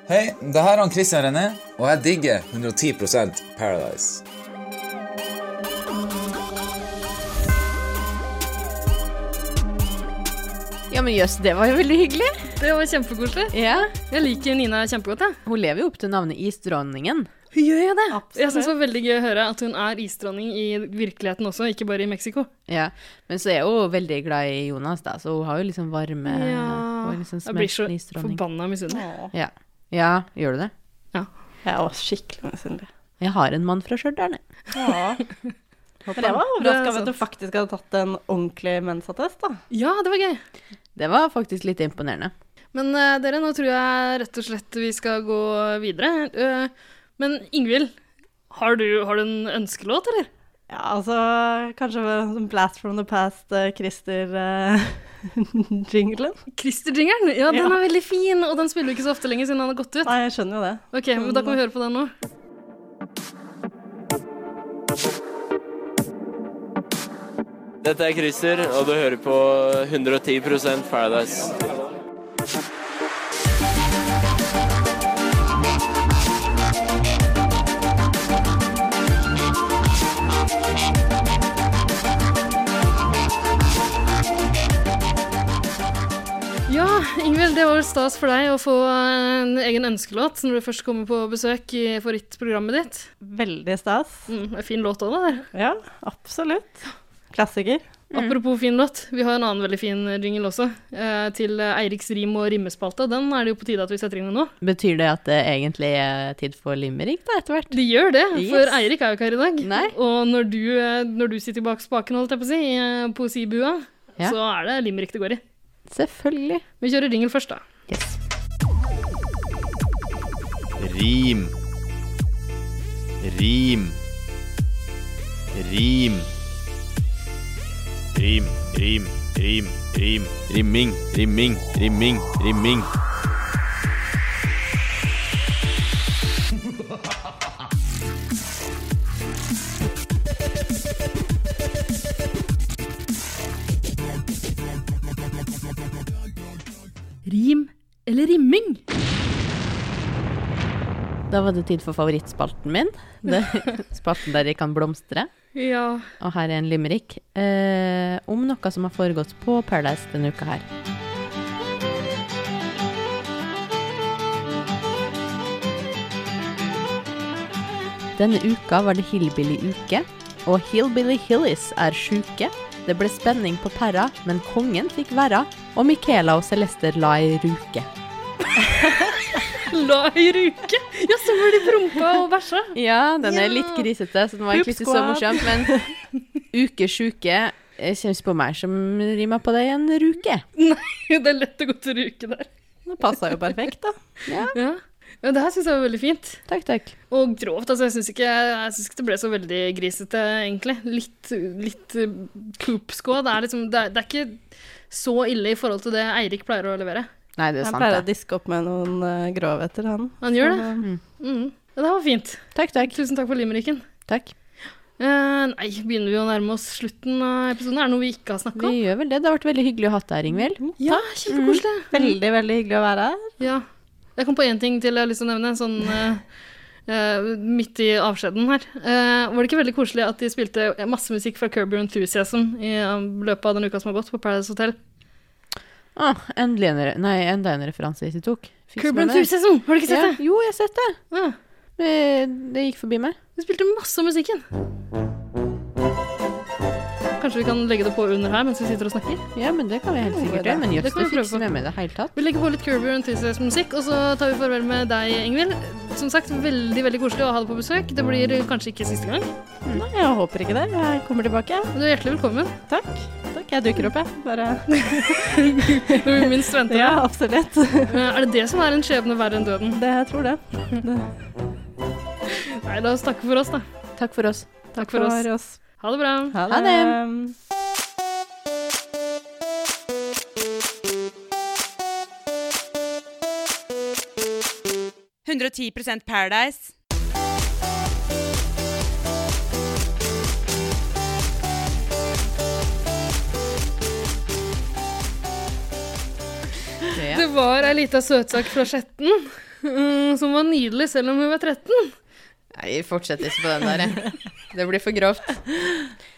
Hei, det her er han Christian René, og jeg digger 110 Paradise. Ja, men jøss, det var jo veldig hyggelig. Det var kjempekoselig. Ja. Jeg liker Nina kjempegodt. Jeg. Hun lever jo opp til navnet Isdronningen. Hun gjør jo det. Jeg syns det var veldig gøy å høre at hun er isdronning i virkeligheten også, ikke bare i Mexico. Ja. Men så er hun veldig glad i Jonas, da, så hun har jo liksom varme Ja. og liksom Jeg blir så smeltende isdronning. forbanna misunnelig. Ja. ja, gjør du det? Ja. Jeg er også skikkelig misunnelig. Jeg har en mann fra Stjørdal, jeg. Men jeg var overraska over at du faktisk hadde tatt en ordentlig mensattest, da. Ja, det var gøy. Det var faktisk litt imponerende. Men eh, dere, nå tror jeg rett og slett vi skal gå videre. Eh, men Ingvild, har du, har du en ønskelåt, eller? Ja, altså kanskje en Blast from the past, eh, Christer-jinglen. Christer-jingelen? Ja, den Ja. er veldig fin, og den spiller jo ikke så ofte lenger siden han har gått ut. Nei, jeg skjønner jo det. Ok, men da kan vi høre på den nå. Dette er Christer, og du hører på 110 Paradise. Ja, Ingvild, det var vel stas for deg å få en egen ønskelåt når du først kommer på besøk i favorittprogrammet ditt. Veldig stas. Mm, en fin låt òg, det der. Ja, absolutt. Klassiker. Mm. Apropos fin låt, vi har en annen veldig fin jingle også, eh, til Eiriks rim- og rimmespalte. Den er det jo på tide at vi setter inn nå. Betyr det at det egentlig er tid for limerick, da, etter hvert? De gjør det, Yes. for Eirik er jo ikke her i dag. Og når du, eh, når du sitter bak spaken, holdt jeg på å si, i eh, poesibua, Ja. så er det limerick det går i. Selvfølgelig. Vi kjører jingle først, da. Rim. Rim. Rim. Rim, rim, rim, rim. Rimming, rimming, rimming, rimming. Rim eller rimming? Da var det tid for favorittspalten min. Det, spalten der jeg kan blomstre. Ja. Og her er en limerick eh, om noe som har foregått på Paradise denne uka her. Denne uka var det Hillbilly-uke, og Hillbilly Hillies er sjuke. Det ble spenning på pæra, men kongen fikk være, og Michaela og Celester la ei ruke. La i ruke! Ja, stemmer, de prompa og bæsja. Ja, den er Ja. litt grisete, så den var egentlig ikke så Poop squad. morsom. Men ukesjuke kjennes på meg som rimer på det i en ruke. Nei, det er lett å gå til ruke der. Det passa jo perfekt, da. Ja. ja. det her syns jeg var veldig fint. Takk, takk. Og grovt. altså Jeg syns ikke, jeg synes ikke det ble så veldig grisete, egentlig. Litt, litt eh, poop squad. Det er, liksom, det, er, det er ikke så ille i forhold til det Eirik pleier å levere. Nei, det er Han sant, pleier å det. diske opp med noen eh, grovheter, han. Han gjør det. Så, Mm. Ja, Det her var fint. Takk, takk. Tusen takk for limericken. Takk. Eh, nei, begynner vi å nærme oss slutten av episoden? Er det noe vi ikke har snakka Vi om? gjør vel det. Det har vært veldig hyggelig å ha deg her, Ingvild. Ja, kjempekoselig. Veldig, veldig hyggelig å være her. Ja. Jeg kom på én ting til jeg har lyst til å nevne, sånn eh, eh, midt i avskjeden her. Eh, var det ikke veldig koselig at de spilte masse musikk fra Curb Your Enthusiasm i eh, løpet av den uka som har gått, på Paradise Hotel? Ah, endelig en, re- nei, enda en referanse jeg ikke tok. Fikk Curb med Your meg det. Enthusiasm, har du ikke sett ja. det? Jo, jeg har sett det. Ja. Det, det gikk forbi meg. De spilte masse av musikken. Kanskje vi kan legge det på under her mens vi sitter og snakker? Ja, men det kan vi helt sikkert gjøre. Men Det jøss, det kan vi fikk prøve på. ikke med meg i det hele tatt. Vi legger på litt Curb Your Enthusiasm-musikk, og så tar vi farvel med deg, Ingvild. Som sagt, veldig veldig koselig å ha deg på besøk. Det blir kanskje ikke siste gang. Nei, jeg håper ikke det. Jeg kommer tilbake. Du er hjertelig velkommen. Takk. Takk, Jeg dukker opp, jeg. Bare Når vi minst venter Ja, det. absolutt. Eh, Er det det som er en skjebne verre enn døden? Det, jeg tror det. det. Nei, la oss takke for oss, da. Takk for oss. Takk for oss. Ha det bra. Ha det. Em, Paradise. 110 Paradise. Det var ei lita søtsak fra Skjetten eh, som var nydelig selv om hun var 13. Nei, vi fortsetter ikke på den der. jeg. Det blir for grovt.